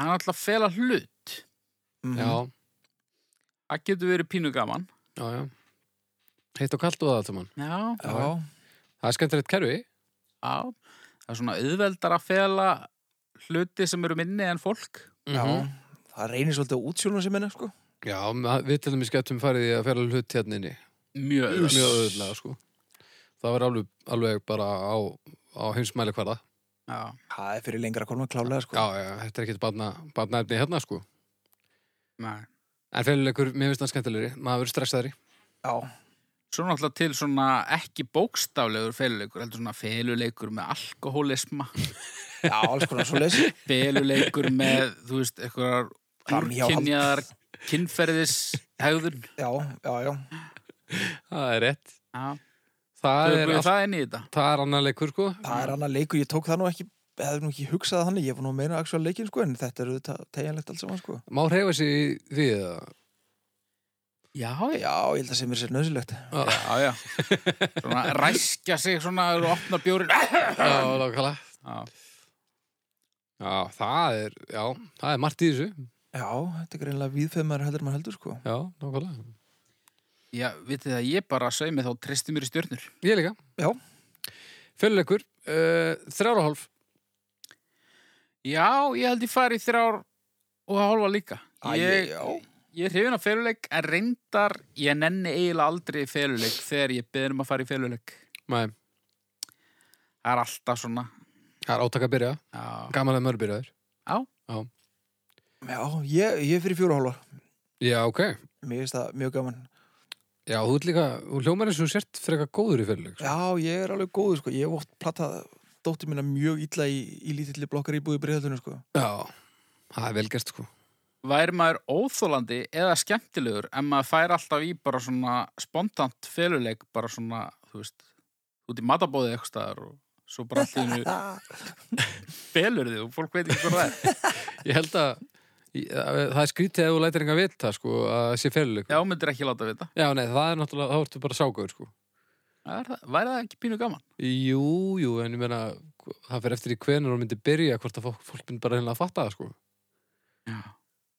A: hann er náttúrulega að fela hlut.
C: Mm.
B: Mm-hmm. já,
A: Það getur verið pínu gaman.
B: já, já. Heitt og kalt og það allt saman.
A: Já,
C: Já,
B: Það er skemmtilegt kerfi.
A: já. Það er svona auðveldar að fela hluti sem eru minni en fólk.
C: já.
B: Mhm.
C: Það reynir svolítið á útsjónum sem minna, sko.
B: Já, ma- við til dæmis getum farið í að færa hlut hérna inni.
A: Mjög
B: Mjög
A: auðveld.
B: auðvitað, sko. Það var alveg, alveg bara á, á heimsmæli hverða.
A: Já,
C: Það er fyrir lengra kolma klálega, sko.
B: Já, já, þetta er ekkert barna, barnaefni hérna, sko.
A: nei.
B: En fyrirleikur, mér finnst það skemmtilegri. Maður verður stressaðri.
C: Já,
A: Svo náttúrulega til svona ekki bókstaflegur feluleikur, heldur svona feluleikur með alkohólisma,
C: já, alls konar svo lesi.
A: feluleikur með, þú veist, eitthvað
C: Framhjáhald.
A: úrkynjaðar kynferðis hegðun.
C: Já, já, já.
B: Það er rétt.
A: Já,
B: Það er,
A: það,
B: allt,
A: það inn í þetta.
B: það er annar leikur, sko.
C: Það er annar leikur, ég tók það nú ekki, hefði nú ekki hugsað þannig, ég var nú að meina actual leikin, sko, en þetta eru tegjanlegt allt saman, sko.
B: Má hreyfa sig í því það.
A: Já,
C: Já,
A: já.
C: ég held að sem er sér nöðsilegt.
A: Já, já. Svona ræskja sig svona og opna bjórin.
B: Já, lokala.
A: Já,
B: Já, það er, já, það er margt í þessu.
C: Já, þetta er greinlega víðfeðmar heldur en maður heldur, sko.
B: Já, lokala.
A: já vitið það, ég bara sveimi þá tristi mér í stjörnur.
B: Ég líka.
C: Já.
B: Fyrirleikur, uh, þrjára og hálf.
A: Já, ég held ég fari í þrjár og hálfa líka.
C: Æ,
A: Ég,
C: já.
A: ég er hrifin af feluleik en reyndar, ég nenni eiginlega aldrei í feluleik þegar ég beður um að fara í feluleik.
B: Nei,
A: Það er alltaf svona.
B: það er átaka að byrja.
A: Já,
B: Gaman að mörg byrjaður.
C: Já, ég, ég er fyrir fjóra hálfa.
B: Já, ok.
C: Mér finnst það mjög gaman.
B: Já, þú ert líka, þú hljómar eins og þú sért frekar góður í fyrirleik. sko.
C: Já, ég er alveg góður, sko. Ég hef ótt plattað dóttir mína mjög illa í, í lítilli blokkar íbúði breyðaldunum, sko.
B: Já, það er velgerst, sko.
A: væri maður óþólandi eða skemmtilegur en maður fær alltaf í bara svona spontant feluleik, bara svona, þú veist, út í matabóðið eitthvað staðar og svo bara allt í hennu
C: Ah,
A: felur þið og fólk veit ekki hvað það er.
B: Ég held að, ég, að það er skrítið að þú lætir enga vita, sko, að það sé fyrirleik.
A: Já, myndir ekki láta vita.
B: Já, nei, það er náttúrulega, þá ertu bara ságur, sko.
A: Það er það- Væri það ekki pínu gaman?
B: Jú, jú, en ég meina, það fer eftir í hvenar hún myndi byrja, hvort að fólk, fólk myndi bara hennilega að fatta það, sko.
A: Já.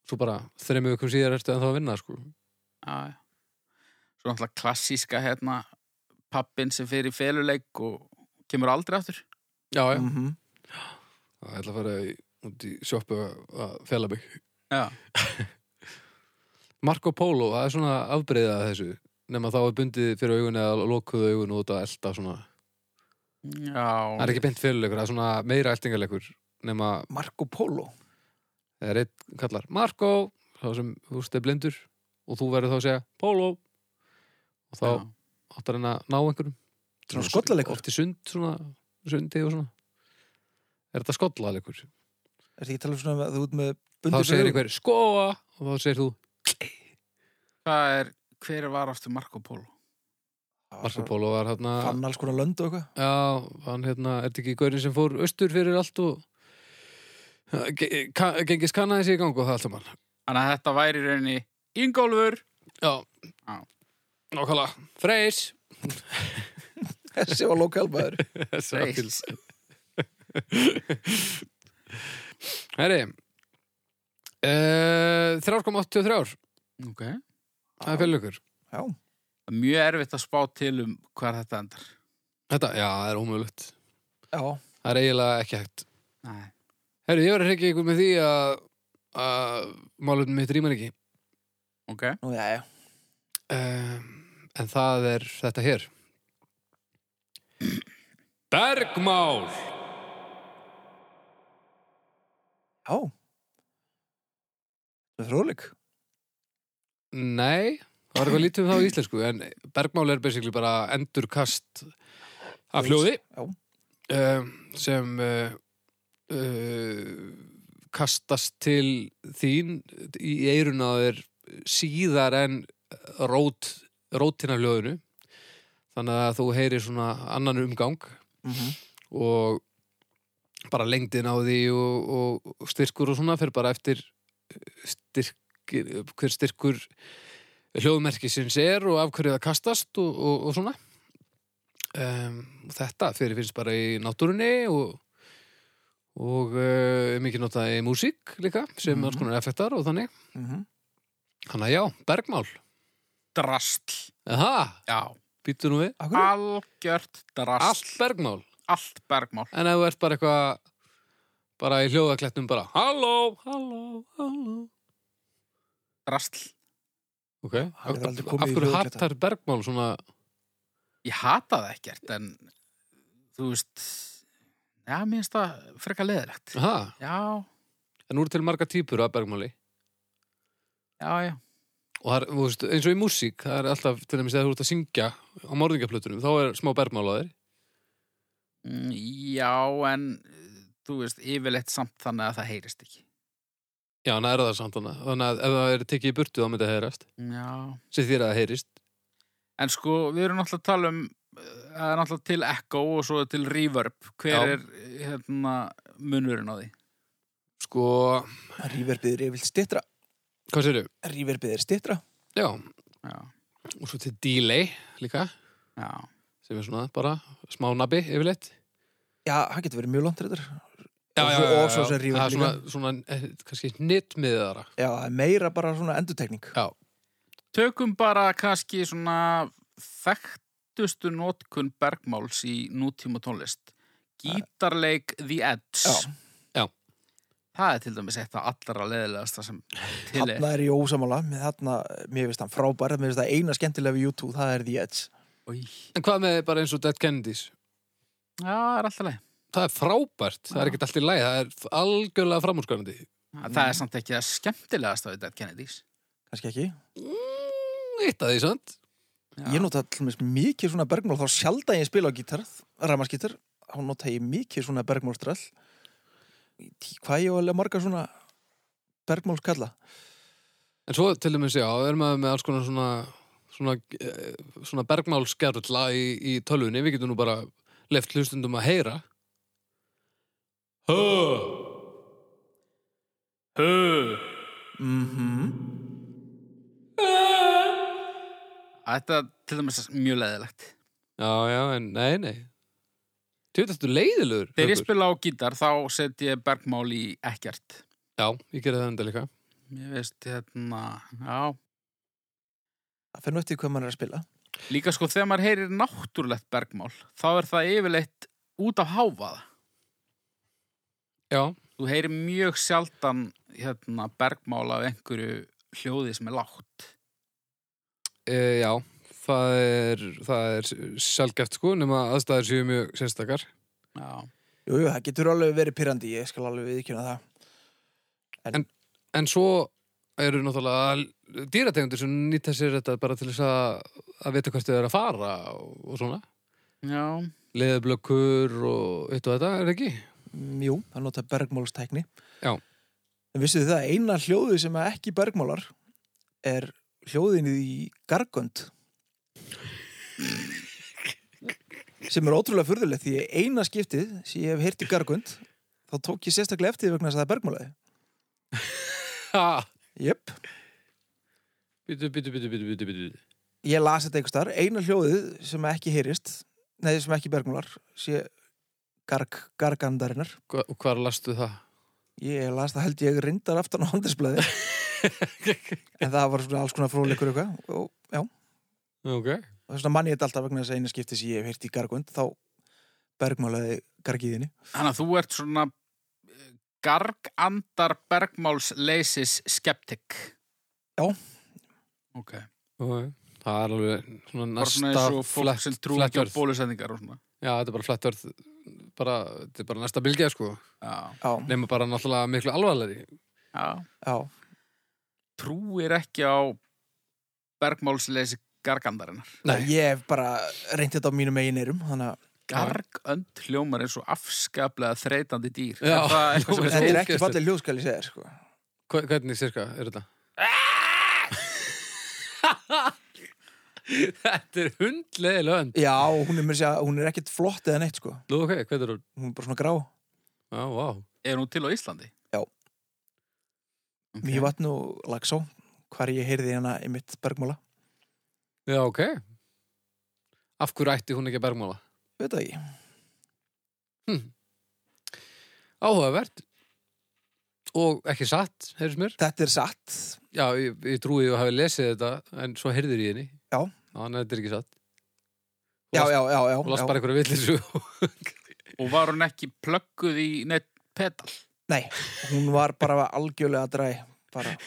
B: Svo bara, þrejum ykkur síðar ertu en þá að vinna, sko.
A: Já, já. Svo náttúrulega klassíska hérna pappin sem fer í feluleik og kemur aldrei aftur.
B: Já, já.
C: mhm.
B: Það ætla að fara í, út í sjoppu að, að fela mig.
A: Já.
B: Marco Polo, það er svona afbreyðað þessu, nema þá er bundið fyrir augun eða lokuðu augun út að elta svona.
A: Já.
B: Það er ekki beint fyrirleikur, það er svona meira eltingarleikur, nema
C: Marco Polo.
B: það er einn kallar Marco, þá sem þú veist er blindur og þú verður þá að segja Polo og þá
A: Já.
B: áttar hann að ná einhverjum
C: Svona skollaleikur?
B: Oft í sund, svona, sundi og svona Er þetta skollalegur?
C: Er þetta ekki talað um svona að þú ert með
B: Þá
C: bundir
B: segir einhver skoa og þá segir þú
A: Hvað er, hver var aftur Marco Polo?
B: Marco Polo var hérna
C: Fann alls konar lönd og eitthvað.
B: Já, hann hérna, er þetta ekki gaurin sem fór austur fyrir allt og eh, Ge- ka- gengis kannaði sér í gang og það allt saman
A: Þannig að þetta væri í rauninni Ingólfur.
B: Já,
A: Já.
B: nokkala Freys
C: [LAUGHS] Þessi var lokalbæður.
B: [LAUGHS]
A: Freys.
B: Herri uh, 3,83
A: Ok.
B: Það er fyrir ykkur
C: Já,
A: Mjög erfitt að spá til um hvar þetta endar.
B: Þetta, já, það er ómögulegt
C: já.
B: Það er eiginlega ekki hægt
A: Nei.
B: Herri, ég var að hreykja ykkur með því að að málunum mitt rýmar ekki
A: Ok.
C: Nú, já, já.
B: uh, En það er þetta hér Bergmál
C: Já. Það er fróðleik.
B: Nei, Það var eitthvað lítið um það á íslensku, en bergmál er basically bara endurkast af hljóði
C: Já.
B: um, sem uh, uh, kastast til þín í eyrun að þeir síðar en rót, rótin af hljóðinu. Þannig að þú heyrir svona annan umgang
C: Mm
B: og bara lengdin á því og, og styrkur og svona fer bara eftir eh, styrkir, hver styrkur hljóðmerkisins er og af hverju það kastast og, og, og svona um, og þetta fyrir finnst bara í náttúrunni og og uh, er mikið notað í músík líka sem mm
C: Mhm.
B: alls konar effektar og þannig hann að já, bergmál
A: Drastl.
B: Aha,
A: Já.
B: býttu nú við,
C: Akkur,
A: Algjört drastl.
B: allt bergmál
A: Allt bergmál.
B: En ef þú ert bara eitthvað bara í hljóðaklettum bara Halló, halló, halló
A: Drastl.
B: Ok, af,
C: hefur aldrei
B: af
C: komið í
B: hverju
C: hljóðakletta.
B: hattar Bergmál svona
A: Ég hata það ekkert, en þú veist, já, mér finnst það frekar leðilegt.
B: Aha,
A: Já,
B: En nú eru til marga típur af Bergmáli
A: já, já.
B: og það er, þú veist, eins og í músík það er alltaf, til dæmis, þegar þú ert að syngja á morðingaplutunum, þá er smá Bergmál á þér
A: Mm, Já, en eh, þú veist, yfirleitt samt þannig að það heyrist ekki.
B: Já, en það er það samt hana Þannig að ef það er tekið í burtu, þá myndi það heyrast
A: Já.
B: sem þér að það heyrist
A: En sko, við erum náttúrulega að tala um eh, það er náttúrulega til echo og svo til reverb. Hver
B: Já.
A: er eh, hérna, munurinn á því?
B: Sko,
C: rýverpið er yfirlt stittra
B: hvað sérðu?
C: Rýverpið er stittra
B: Já,
A: Já,
B: og svo til delay líka
A: já.
B: sem er svona bara smá nabbi yfirleitt
C: Já, það getur verið mjög langt reyndar
B: já,
C: Og
B: já,
C: svo-
B: já, já,
C: og svo
B: já.
C: sem rífur
B: Það er
C: líka.
B: svona, svona eh, kannski nýttmiðara
C: Já, það er meira bara svona endutekning
B: já,
A: Tökum bara kannski svona þekktustu notkun bergmáls í nútíma tónlist. Gítarleik The Edge.
C: Já.
B: Já.
A: Það er til dæmis eitt af allra leðilegasta sem til er.
C: Þarna er ég ósamála Mér, þarna, mér finnst það frábær Mér finnst það eina skemmtilega við YouTube Það er The Edge
A: Í.
B: en hvað með bara eins og Dead Kennedys
A: Já, það er alltaf leið.
B: það er frábært, það er ekkert allt í læg það er f- algjörlega framúrskarandi
A: Það er samt ekki það skemmtilegasta við Dead Kennedys.
C: Kannski ekki
B: mm, eitt af því, sant?
A: Já.
C: Ég nota allmest mikið svona bergmál Þá sjálf að ég spila á gítar Ramaskítar Þá nota ég mikið svona bergmálstrall Hvað ég á alveg marga svona Bergmálskalla
B: en svo til dæmis, já, við erum að með alls konar svona svona, eh, svona bergmálskerla í, í tölvunni, við getum nú bara left hlustundum að heyra Hö
A: Hú. Þetta er til dæmis mjög leðilegt.
B: Já, já, en nei, nei Tjóðið þetta leiðilegur
A: Þegar ég
B: Haukur.
A: spila á gítar þá set ég bergmál í ekkert.
B: Já, ég gerði það enda líka
A: Ég veist, hérna, já,
C: Það finnur eftir hvað mann er að spila
A: Líka sko þegar maður heyrir náttúrulegt bergmál þá er það yfirleitt út af háfaða.
B: Já,
A: Þú heyrir mjög sjaldan hérna, bergmál af einhverju hljóði sem er lágt.
B: E, já, það er, það er sjálfgeft sko, nema aðstæður séu mjög sérstakar.
A: Já.
C: Jú, jú, það getur alveg verið pyrrandi Ég skal alveg viðkjöna það
B: En svo eru náttúrulega dýrategundir sem nýta sér þetta bara til þess að, að vita hvert þau eru að fara og, og svona.
A: Já.
B: Leðablökkur og eitt og þetta, er það ekki?
C: Mm, Jú, það nota bergmálstækni.
B: Já.
C: En vissuð þið það, að eina hljóðið sem er ekki bergmálar er hljóðin í gargönd. sem er ótrúlega furðulegt því að eina skiptið sem ég hef heyrt í gargönd þá tók ég sérstaklega eftir því vegna þess að það er bergmálaði.
B: Ha!
C: Jöpp.
B: Bítu, bítu, bítu, bítu, bítu, bítu.
C: Ég las þetta einhvers þar. Eina hljóðið sem ekki heyrist, nei, sem ekki bergmálar, sé garg, gargandarinnar.
B: Hva, og hvar lastu það?
C: Ég las það held ég reyndar aftan á handelsblæði En það var svona alls konar fróðleikur eitthvað Og já,
B: Ok.
C: og svona manni ég þetta alltaf vegna þess að eina skipti sem ég hef heyrt í gargund Þá bergmálaði gargiðinni
A: Þannig að þú ert svona eh, gargandar bergmáls leysis skeptik.
C: Já.
A: Ok.
B: Ok. Það er alveg
A: Bara
B: svona næsta
A: svona eins og fólk
B: flett-
A: sem trú ekki á
B: flettverð.
A: bólusendingar og svona.
B: Já, þetta er bara flettverð, bara, þetta er bara næsta bylgja sko.
A: Já.
C: Já,
B: Nefnum bara náttúrulega miklu alvarlegri.
A: Já.
C: já,
A: Trúir ekki á bergmálsleysi gargandarinnar.
B: Nei.
C: Ég hef bara reyndi þetta á mínum eigin eirum Þannig að
A: Gargönd hljómar eins og afskaplega þreytandi dýr.
B: Já.
A: Er það eitthvað sem
B: Já.
A: er
C: þetta er ekki
B: ógeðslegt.
C: fallið hljóðskal ég segja þér, sko.
B: Hva- Hvernig cirka er þetta? [LAUGHS] þetta er hundlega önd.
C: Já, hún er, meira að segja- hún er ekkit flott eða neitt sko.
B: Nú, ok, hvað er hún?
C: Hún er bara svona grá
B: Já, vá.
A: er hún til á Íslandi?
C: Já.
A: Ok.
C: Mývatn og Lagsó Hvar ég heyrði hérna í mitt bergmála
B: Já, ok. Af hverju ætti hún ekki að bergmála?
C: Veit það ekki
B: Áhugavert. Og ekki satt, heyrðis mér.
C: Þetta er satt
B: Já, ég, ég trúi að hafi lesið þetta, en svo heyrðir ég henni.
C: Já.
B: Þannig að þetta er ekki satt.
C: Já, já, já, já,
B: Og last
C: já.
B: bara einhverja villisu.
A: Og var hún ekki plögguð í neitt pedal?
C: Nei, hún var bara algjörlega að dræ bara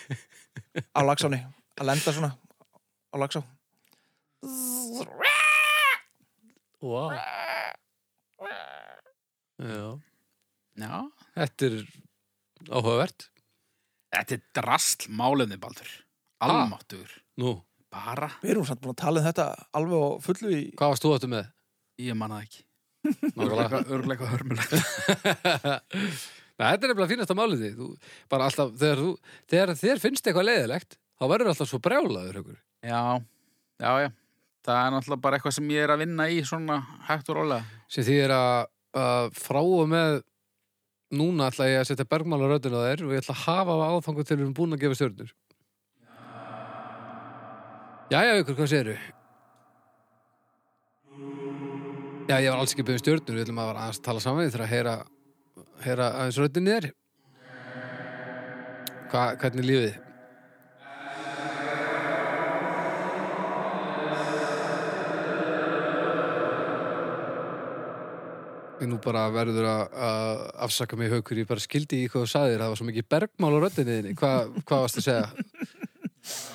C: á Lagsáni að lenda svona á Lagsá
B: [LAUGHS] Vá. Já.
A: Já.
B: Þetta er áhugavert.
A: Þetta er drasl málefni, Baldur. Almáttugur.
B: Nú,
A: Bara,
C: Við erum samt búin að tala um þetta alveg og fullu í
B: hvað varst þú áttu [LAUGHS] með?
A: ég manna ekki.
B: Nákvæmlega.
A: Örgleika, örgleika hörmulegt.
B: [LAUGHS] Nei, þetta er nefnilega fínasta málið því. Þú, bara alltaf, þegar, þú, þegar þér finnst eitthvað leiðilegt, þá verður alltaf svo brjálaður ykkur.
A: Já, já, já. Það er náttúrulega bara eitthvað sem ég er að vinna í svona hægt og rólega.
B: Sem því er að, að frá og með núna ætla ég að setja bergmálaröðin á þær og ég ætla að hafa á áfangu til við erum búin að gefa stjörnur. Jæja, ykkur, hvað segirðu? Já, ég var alls ekki beðið stjörnur, við ætlum að vera aðeins að tala saman, ég þarf að heyra, heyra aðeins röddinni þér. Hva, hvernig er lífið? Ég nú bara verður að að afsaka mig haukur, ég bara skildi í hvað þú sagðir, það var svo mikið bergmál á röddinni þinni, Hva, hvað varst að segja?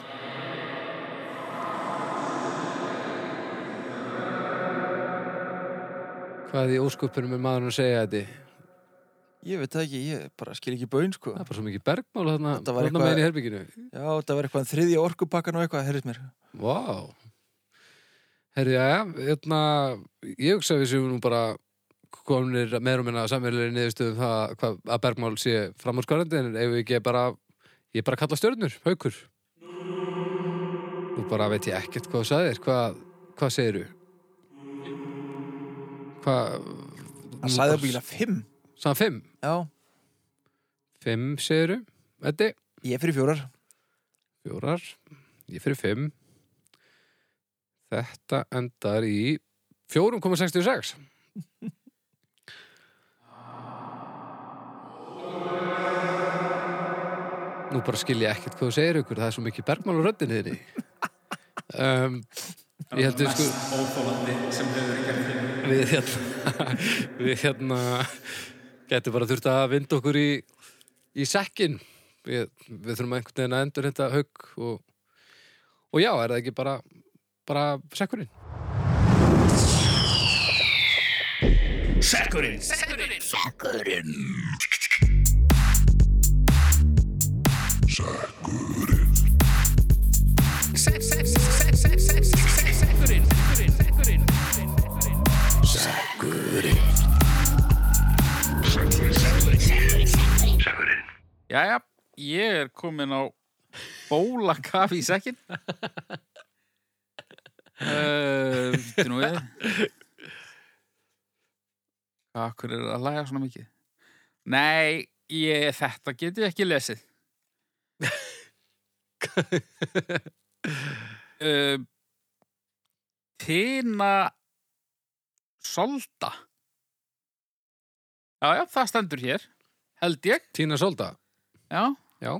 B: Hvað í óskupunum er maðurinn að segja þetta?
C: Ég veit það ekki, ég bara skil ekki bauðin sko
B: Það er bara svo mikið bergmál þarna,
C: Þetta var
B: þarna
C: eitthvað-
B: meginn í herbygginu.
C: Já, þetta var eitthvað þriðja orkupakkan og eitthvað, heyrðist mér
B: Vá. Herri, já, hérna, ég hugsa að við séum nú bara kominir meir og minna samverðilegri niðurstöðum um það hvað, að bergmál sé framhúrskarandi en ef ekki bara, ég bara kalla stjörnur, haukur. Nú bara veit ég ekkert hvað þú sagðir, hvað, hvað segirðu? Hvað,
C: Hann sagði að bíla fimm
B: sagðan fimm?
C: Já,
B: Fimm segirðu, Eddi?
C: ég er fyrir fjórar
B: Fjórar, ég fyrir fimm. Þetta endar í 4,66. Nú bara skil ég ekkert hvað þú segir ykkur, það er svo mikið bergmál á röddinni þinni. Um, ég held við sko... Óþólandi sem hefur ekki Við hérna... við hérna... Gæti bara þurft að vinda okkur í, í sekkin. Við, við þurfum einhvern veginn að endur þetta haug og, og já, er það ekki bara, bara sekkurinn?
A: Jæja, ég er komin á bólakafi í sekkin. Uh, Vittu nú við. Akkur er að læga svona mikið? Nei, ég, þetta get ég ekki lesið. uh, Tina Solda. Já, já, það stendur hér. Held ég,
B: Tína Solda,
A: já.
B: já.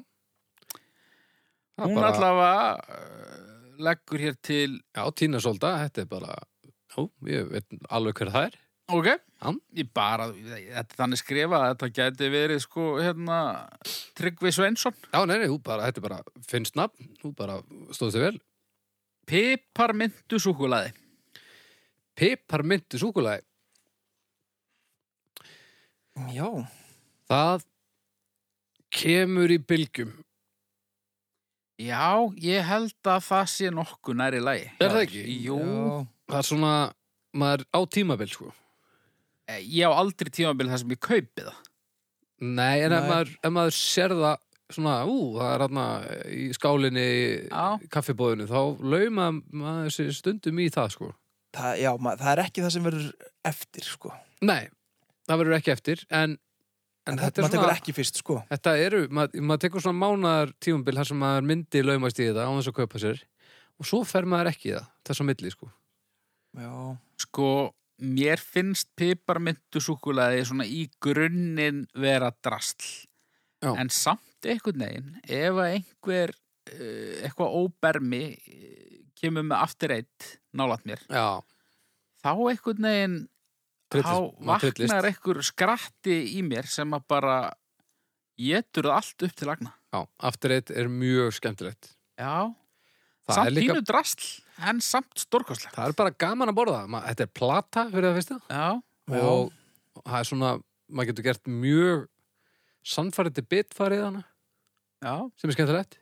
B: Það er
A: Hún
B: bara,
A: allavega uh, leggur hér til
B: Já, Tína Solda, þetta er bara, já, ég veit alveg hver það er.
A: Ok,
B: Já.
A: ég bara þetta er þannig skrifað að þetta gæti verið sko, hérna, Tryggvi Sveinsson
B: Já, nei, nei, þú bara, þetta er bara finnst nafn, þú bara stóðst þig vel.
A: Piparmyndu súkulaði
B: Piparmyndu súkulæði,
C: Já,
B: það kemur í bylgjum.
A: Já, ég held að það sé nokkuð næri lagi.
B: Er það ekki?
A: Jú,
C: Já.
B: það er svona, maður á tímabil sko
A: eh, ég á aldrei tímabil þar sem ég kaupi það.
B: Nei, en ef
C: Nei.
B: maður, ef maður sér það svona, ú, það er hann í skálinni,
A: Já.
B: í kaffibóðinu þá lauma maður sér stundum í það sko.
C: Það, já, ma, það er ekki það sem verður eftir sko.
B: Nei, það verður ekki eftir en, en,
C: en
B: þetta er
C: þetta maður tekur
B: svona,
C: ekki fyrst sko.
B: þetta eru maður, maður tekur svona mánar tímumbil þar sem maður myndi laumast í þetta á þess að kaupa sér og svo fer maður ekki í það, þess að milli sko.
C: já,
A: Sko, mér finnst piparmyndu súkulaði svona í grunninn vera drastl.
B: Já.
A: En samt einhvern veginn, ef að einhver, eh, eitthvað óbermi eh, kemur með aftur eitt nálat mér,
B: Já,
A: þá einhvern veginn,
B: Tryllist-
A: þá
B: maður tryllist.
A: vaknar einhver skratti í mér sem að bara getur það allt upp til agna.
B: Já, aftur eitt er mjög skemmtilegt
A: Já,
B: Það
A: samt
B: er líka-
A: pínu drasl, en samt stórkostlegt.
B: Það er bara gaman að borða, Ma, þetta er plata fyrir það fyrsta
A: Já,
C: já,
B: og það er svona, maður getur gert mjög sannfærandi bitfarið hana
A: já.
B: sem er skemmtilegt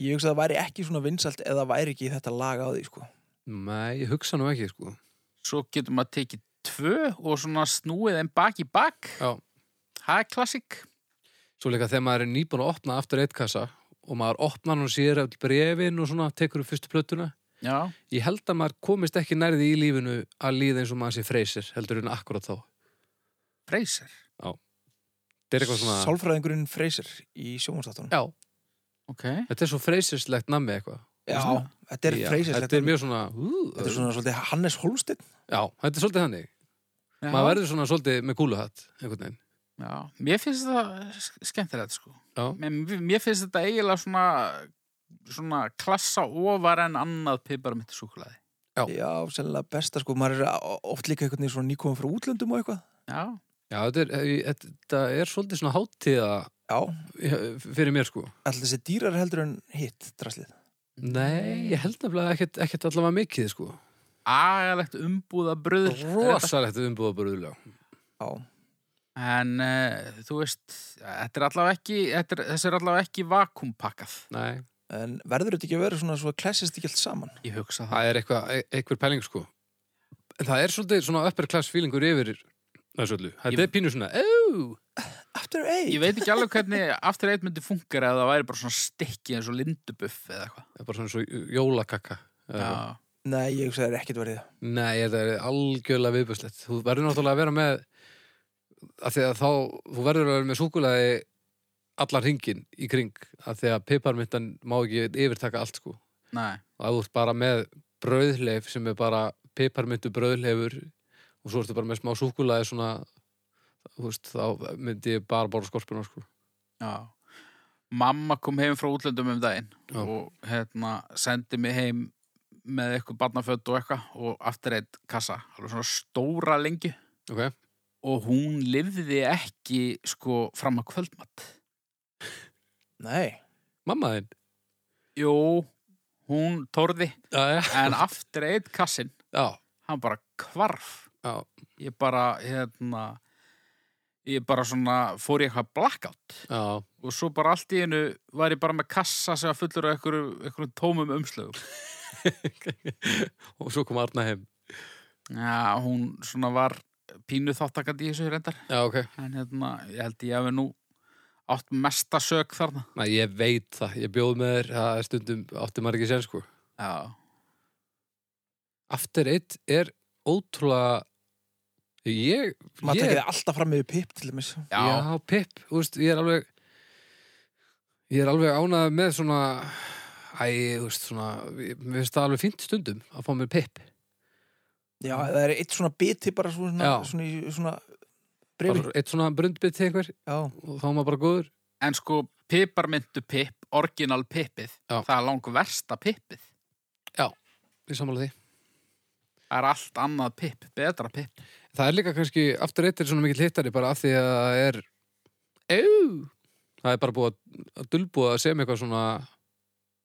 C: ég hugsa að það væri ekki svona vinsalt eða væri ekki þetta lag á því sko.
B: Nei, ég hugsa nú ekki sko
A: Svo getur maður tekið tvö og svona snúið en bak í bak.
B: Já.
A: Það er klassik.
B: Svo líka þegar maður er nýbúin að opna aftur eitt kassa og maður opnar hann og sér öll brefin og svona tekur upp fyrstu plötuna
A: Já.
B: Ég held að maður komist ekki nærði í lífinu að líða eins og maður sé freysir heldur en akkurat þá
A: Freyser.
B: Þetta er eitthvað svona
C: Sálfræðingurinn Freyser í sjónvastáttunum
B: Já,
A: Ok.
B: þetta er svo freysislegt nammi eitthvað
A: svona.
C: þetta er
B: Já,
C: Freyser
B: Þetta er mjög svona, ú,
C: þetta er svona svolítið Hannes Holstein
B: Já, þetta er svolítið þannig
A: Já.
B: Maður verður svona svolítið með kúluhatt einhvern veginn
A: Já. Mér finnst það sk- skemmtilegt, sko.
B: Já.
A: Men mér finnst þetta eiginlega svona, svona klassa ofar en annað piparmittisúkulaði.
B: Já.
C: Já, sennilega besta sko, maður er o- oft líka einhvern veginn svona nýkomum frá útlöndum og eitthvað
A: Já.
B: Já, þetta er, eh, þetta er svolítið svona hátíða
C: Já,
B: eh, fyrir mér sko
C: alltaf þessi dýrar heldur en hitt draslið
B: Nei, ég held nefnilega ekkert, ekkert allavega mikið sko
A: Agalegt umbúða bröður.
B: Rosalegt umbúðaburðulega
C: Já,
A: En uh, þú veist, þetta er allavega ekki, þetta er, þessu er allavega ekki vakumpakkað.
B: Nei,
C: en verður þetta ekki að vera svona svo klessist ekki allt saman
A: Ég hugsa það.
B: það er eitthvað, e- einhver pæling sko En það er svolítið svona upper class feelingur yfir þessu öllu Þetta
A: Ég-
B: er pínu svona, eh, ó,
C: After eight
A: Ég veit ekki alveg hvernig aftur eitt myndi funkar eða það væri bara svona stikki eins og lindubuff eða eitthvað.
B: það er bara svona svo jólakakka eða eitthvað.
A: Já.
C: Nei, ég hugsa það er ekkert verið
B: Nei, þetta er algjörlega viðbjöðslegt Þú verður náttúrulega að vera með af því að þá, þú verður að vera með súkulaði allan hringin í kring af því að piparmyndan má ekki yfirtaka allt sko
A: Nei.
B: og að þú ert bara með brauðleif sem er bara piparmyndu brauðleifur og svo ertu bara með smá súkulaði svona þú veist, þá myndi ég bara bara skorpuna sko.
A: Já. Mamma kom heim frá útlöndum um daginn
B: Já.
A: og hérna sendi mig heim með eitthvað barnaföld og eitthvað og aftur eitt kassa, alveg svona stóra lengi
B: ok,
A: og hún lifði ekki sko fram að kvöldmatt.
C: Nei,
B: mamma þinn
A: Jú, hún torði
B: já, já,
A: en aftur eitt kassin,
B: já,
A: hann bara kvarf.
B: já,
A: ég bara hérna ég bara svona fór í eitthvað blackout
B: já.
A: og svo bara allt í einu var ég bara með kassa sem var fullur af einhverju, einhverjum tómum umslögum
B: [LAUGHS] og svo kom Arna heim
A: Já, hún svona var pínu þáttakandi í þessu reyndar
B: já, ok,
A: en hérna, ég held ég hafi nú átt mesta sök þarna
B: Næ, ég veit það, ég bjóð með þér það er stundum átti maður ekki sér sko
A: Já,
B: After Eight er ótrúlega ég,
C: maður
B: ég
C: tekið alltaf fram yfir pip til dæmis
A: já,
B: Já, Pip, þú veist, ég er alveg ég er alveg ánað með svona æ, þú veist, svona ég- mér finnst það alveg fínt stundum að fá mér Pip
C: Já, það er eitt svona biti bara svona,
B: Já.
C: svona, í- svona brefi
B: bara eitt svona brundbytt til einhver
C: Já,
B: og þá er maður bara góður
A: en sko piparmyndu pip, orginal pipið
B: Já.
A: það er langt versta pipið
B: í samanlega því
A: það er allt annað pip, betra pip
B: Það er líka kannski, After Eight er svona mikill hittari bara af því að það er Ew! það er bara búið að- að dulbúið að segja eitthvað svona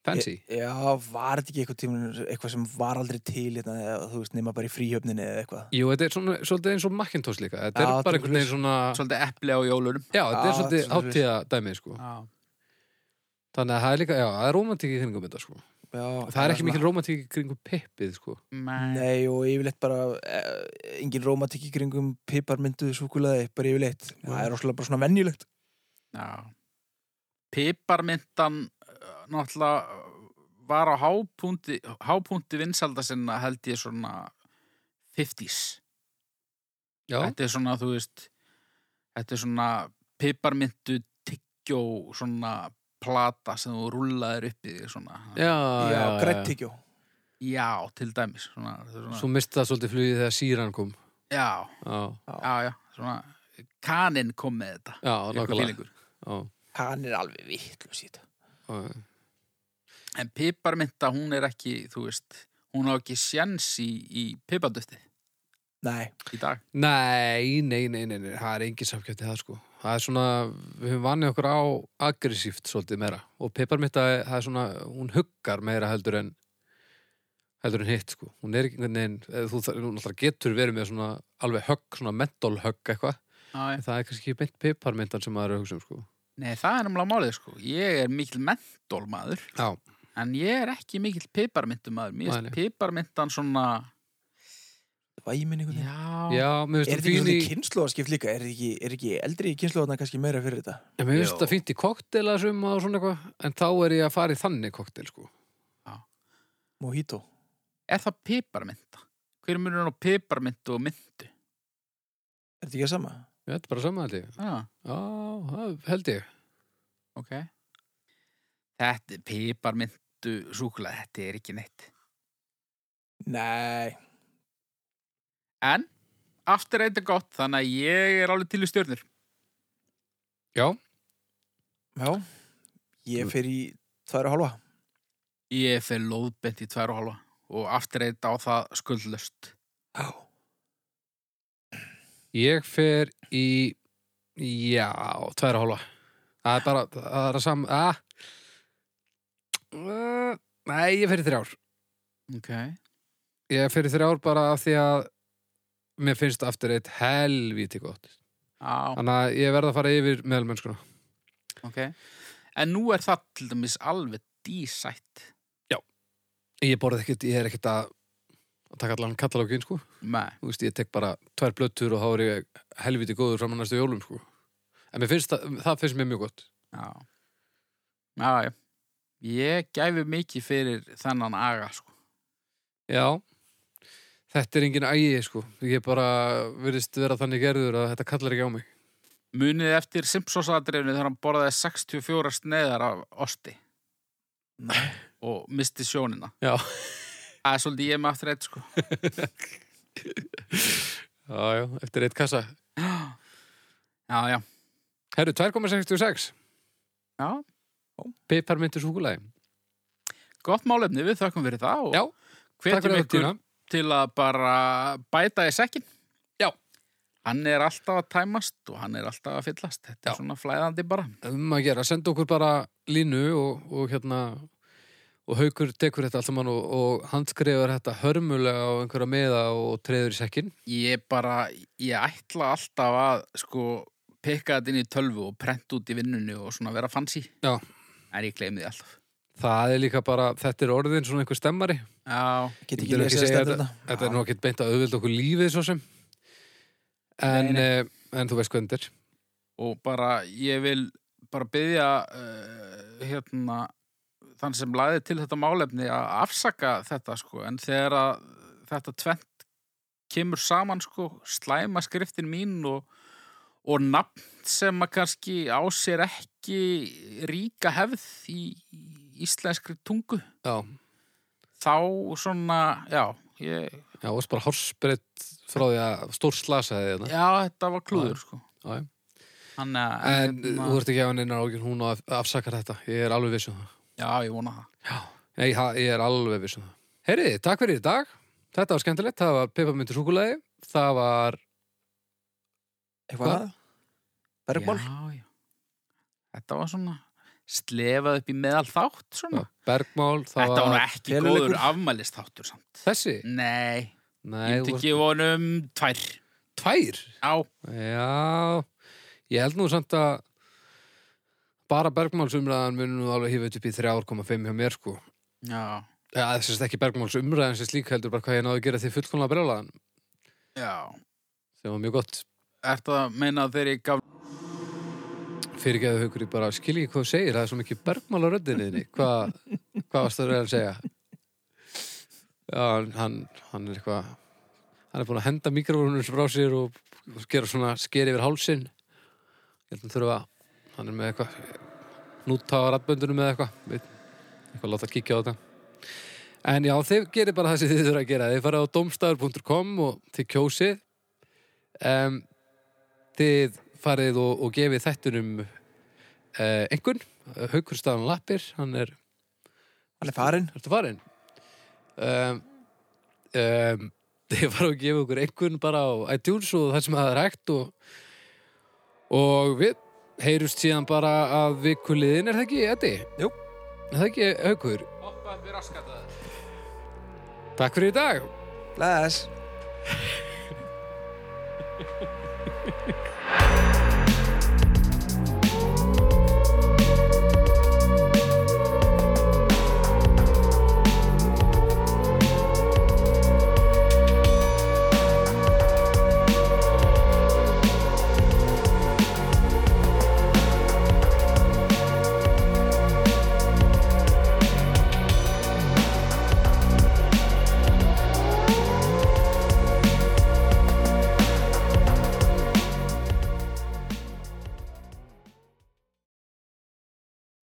B: fancy
C: já, var þetta ekki eitthvað tímur eitthvað sem var aldrei til hérna, eða, þú veist, nema bara í fríhjöfninni eða eitthvað
B: Jú, þetta er svona, svolítið eins og Macintosh líka. Þetta
C: Já,
B: er bara
C: þetta er
B: einhvern veginn svona,
A: svolítið epli á jólunum
B: já, þetta
C: Já,
B: er svolítið
C: þetta er svoleiðis.
B: hátíða dæmið, sko.
A: Já,
B: Þannig að það er líka, já, það er romantík í kringum þetta sko.
C: Já, hérna-
B: Það er ekki mikil romantík í kringum pippið sko.
C: Nei, og yfirleitt bara eh, engin rómatikki kringum piparmyndu súkulaði, bara yfirleitt það er rosalega bara svona venjulegt
A: Já. Piparmyndan uh, náttúrulega uh, var á hápunkti, hápunkti vinsalda sinna held ég svona 50s.
B: Já,
A: Þetta er svona, þú veist, þetta er svona piparmyndu tyggjó svona plata sem þú rúllaðir upp í þig svona.
B: já, já,
C: Já, grættíkjó
A: Já, til dæmis. Svona, þetta er svona,
B: Svo mista það svolítið flugið þegar síran kom.
A: Já,
B: Já,
A: já, já. Svona, kaninn kom með þetta.
B: já,
A: Einhver
B: nákvæmlega.
A: fílingur.
B: Já,
C: Hann er alveg vittlust í þetta
B: já,
A: En piparmynda, hún er ekki, þú veist, hún á ekki sjens í, í pipardufti
C: Nei,
A: í dag.
B: Nei, nei, nei, nei, nei, það er engin samkjöfni það sko. Það er svona, við höfum vanið okkur á aggressíft svolítið meira og pepparmitta, það er svona, hún huggar meira heldur en heldur en hitt sko. Hún er ekki einhvern veginn, eða þú þar- hún alltaf getur verið með svona alveg högg, svona mental högg eitthvað.
A: Já, já.
B: En það er kannski ekki beint pepparmittan sem maður er að hugsa um sko.
A: Nei, það er umlað málið, sko. Ég er mikil mentólmaður,
B: Já,
A: en ég er ekki mikil piparmyndumaður. Mér
B: Nei,
A: finnst
B: nei.
A: piparmyndan svona,
C: væmin einhvern veginn
A: já,
B: já, mér
C: Er
B: finnst
C: þetta
B: það
C: ekki
B: fín í,
C: svona kynnslóðarskipt líka? Er þetta ekki, er ekki eldri kynnslóðarna kannski meira fyrir þetta?
B: já, mér finnst
A: Já.
B: það fínt í koktela sem og svona eitthvað, en þá er ég að fara í þannig koktel sko.
C: Mojito?
A: er það piparmynda? Hver er munurinn á piparmyndu og myndu?
C: Er þetta ekki að sama?
B: Já, Þetta er bara samanhaldi.
A: Já,
B: Já, það held ég.
A: Ah, ok. Þetta er piparmyndu súkulega, þetta er ekki neitt.
C: Nei,
A: En, aftur eitt er gott, þannig að ég er alveg til í stjörnur.
B: Já,
C: já Ég fer í tværa hálfa
A: Ég fer lóðbent í tvær og halva og aftur eitt á það skuldlöst.
C: Já
B: Ég fer í Já, tværa hálfa Það er bara, það er að sam að, uh, Nei, ég fer í þrjár
A: Ok.
B: Ég fer í þrjár bara af því að Mér finnst aftur eitt helvíti gott
A: Já,
B: Þannig að ég verð að fara yfir meðalmennskuna
A: ok. En nú er það til dæmis alveg dísætt.
B: Ég borð ekkert, ég er ekkert að að taka allan katalógin, sko
A: Nei.
B: Þú veist, ég tek bara tvær blöttur og þá er ég helvíti góður fram að næstu jólum, sko En mér finnst það, það finnst mér mjög gott
A: Já. Já, já. Ég gæfi mikið fyrir þennan aga, sko.
B: Já, þetta er engin ægi, sko. Ég bara virðist vera þannig gerður að þetta kallar ekki á mig.
A: Munið eftir Simpsonsadreifinu þegar hann borðaði 64 sneiðar af osti
C: Nei.
A: og misti sjónina.
B: Já.
A: Það er svolítið ég með aftur eitt, sko.
B: Já, já, eftir eitt kassa.
A: Já, já.
B: Herru, 2,66.
A: Já.
B: Piparmyndur súkulæði.
A: Gott málefni, við þökkum fyrir það og
B: Já, Takk
A: hvetjum
B: fyrir
A: ykkur
B: þetta.
A: til að bara bæta í sekkin.
B: Já.
A: Hann er alltaf að tæmast og hann er alltaf að fyllast. Þetta
B: Já.
A: er svona flæðandi bara.
B: Um að gera, senda okkur bara línu og, og hérna og haukur tekur þetta alltaf mann og, og handskrifar þetta hörmulega á einhverja meða og treður í sekkin.
A: Ég bara, ég ætla alltaf að sko pikka þetta inn í tölvu og prenta út í vinnunni og svona vera fancy.
B: Já.
A: En ég gleymi því alltaf.
B: Það er líka bara, þetta er orðin svona einhver stemmari.
A: Já,
B: Ég
C: Get ekki
B: myndi
C: lesið að
B: segja
C: stendur þetta
B: Þetta er nú ekkert beint að auðvelda okkur lífið svo sem. En,
A: Nei, nei.
B: eh, en þú veist hvernig þetta er.
A: og bara ég vil bara byggja uh, hérna þann sem laði til þetta málefni að afsaka þetta sko en þegar að þetta tvent kemur saman sko slæma skriftin mín og, og nafn sem að kannski á sér ekki ríka hefð í í íslenskri tungu
B: Já,
A: þá svona, já ég,
B: Já, og bara horsbreytt frá því að stór slasaði þarna.
A: já, þetta var klúður sko
B: Já, já.
A: Þannig að
B: En
A: hérna,
B: þú ert ekki að hafa neinar ágjur, hún af- afsakar þetta. Ég er alveg viss um það.
A: já, ég vona það
B: Nei, ha- ég er alveg viss um það. Heyriði, takk fyrir í dag. Þetta var skemmtilegt. Það var pepparmyndur súkulæði. Það var,
C: Eitthvað
B: Hvað?
C: að? Bergmál?
A: Já, já. Þetta var svona slefað upp í meðal þátt svona.
B: já, bergmál. Það
A: Þetta var nú ekki
C: feluleikur.
A: góður afmælist þáttur samt.
B: Þessi?
A: Nei,
B: Nei,
A: ég myndi
B: þú
A: ekki vonum tvær.
B: tvær.
A: Já,
B: Já, ég held nú samt að bara Bergmálsumræðan mun nú alveg hífa þetta upp í 3,5 hjá mér sko
A: Já,
B: Já, þess að ekki Bergmálsumræðan sem slík heldur bara hvað ég náði að gera því fullkomlega brjólaðan
A: já.
B: sem var mjög gott
A: Ertu að meina að þegar ég gaf...
B: fyrirgeðu haukur, ég bara skil ekki hvað þú segir það er svo mikið bergmál á röddinniðinni hvað, hvað varst það að reyna að segja já, hann- hann hann er eitthvað hann er búin að henda mikrofónum frá sér og gera svona sker yfir hálsin ég held að þurfa að hann er með eitthvað núta á rattböndunum með eitthvað við- eitthvað láta kíkja á þetta en já, þið gerir bara það sem þið þurfa að gera þið farið á domstafur.com og þið kjósið um, þið farið og, og gefið þettunum uh, einhvern, Haukur Stafan Lappir hann er,
C: Hann er farinn.
B: ertu farinn um, um, [LAUGHS] þið farið og gefið okkur einhvern bara á iTunes og það sem það er hægt og, og við heyrust síðan bara að vikuliðin er það ekki, Eddi?
C: Jú.
B: Er það ekki, Haukur?
A: Hoppa upp í raskataðar.
B: Takk fyrir í dag!
C: Bless.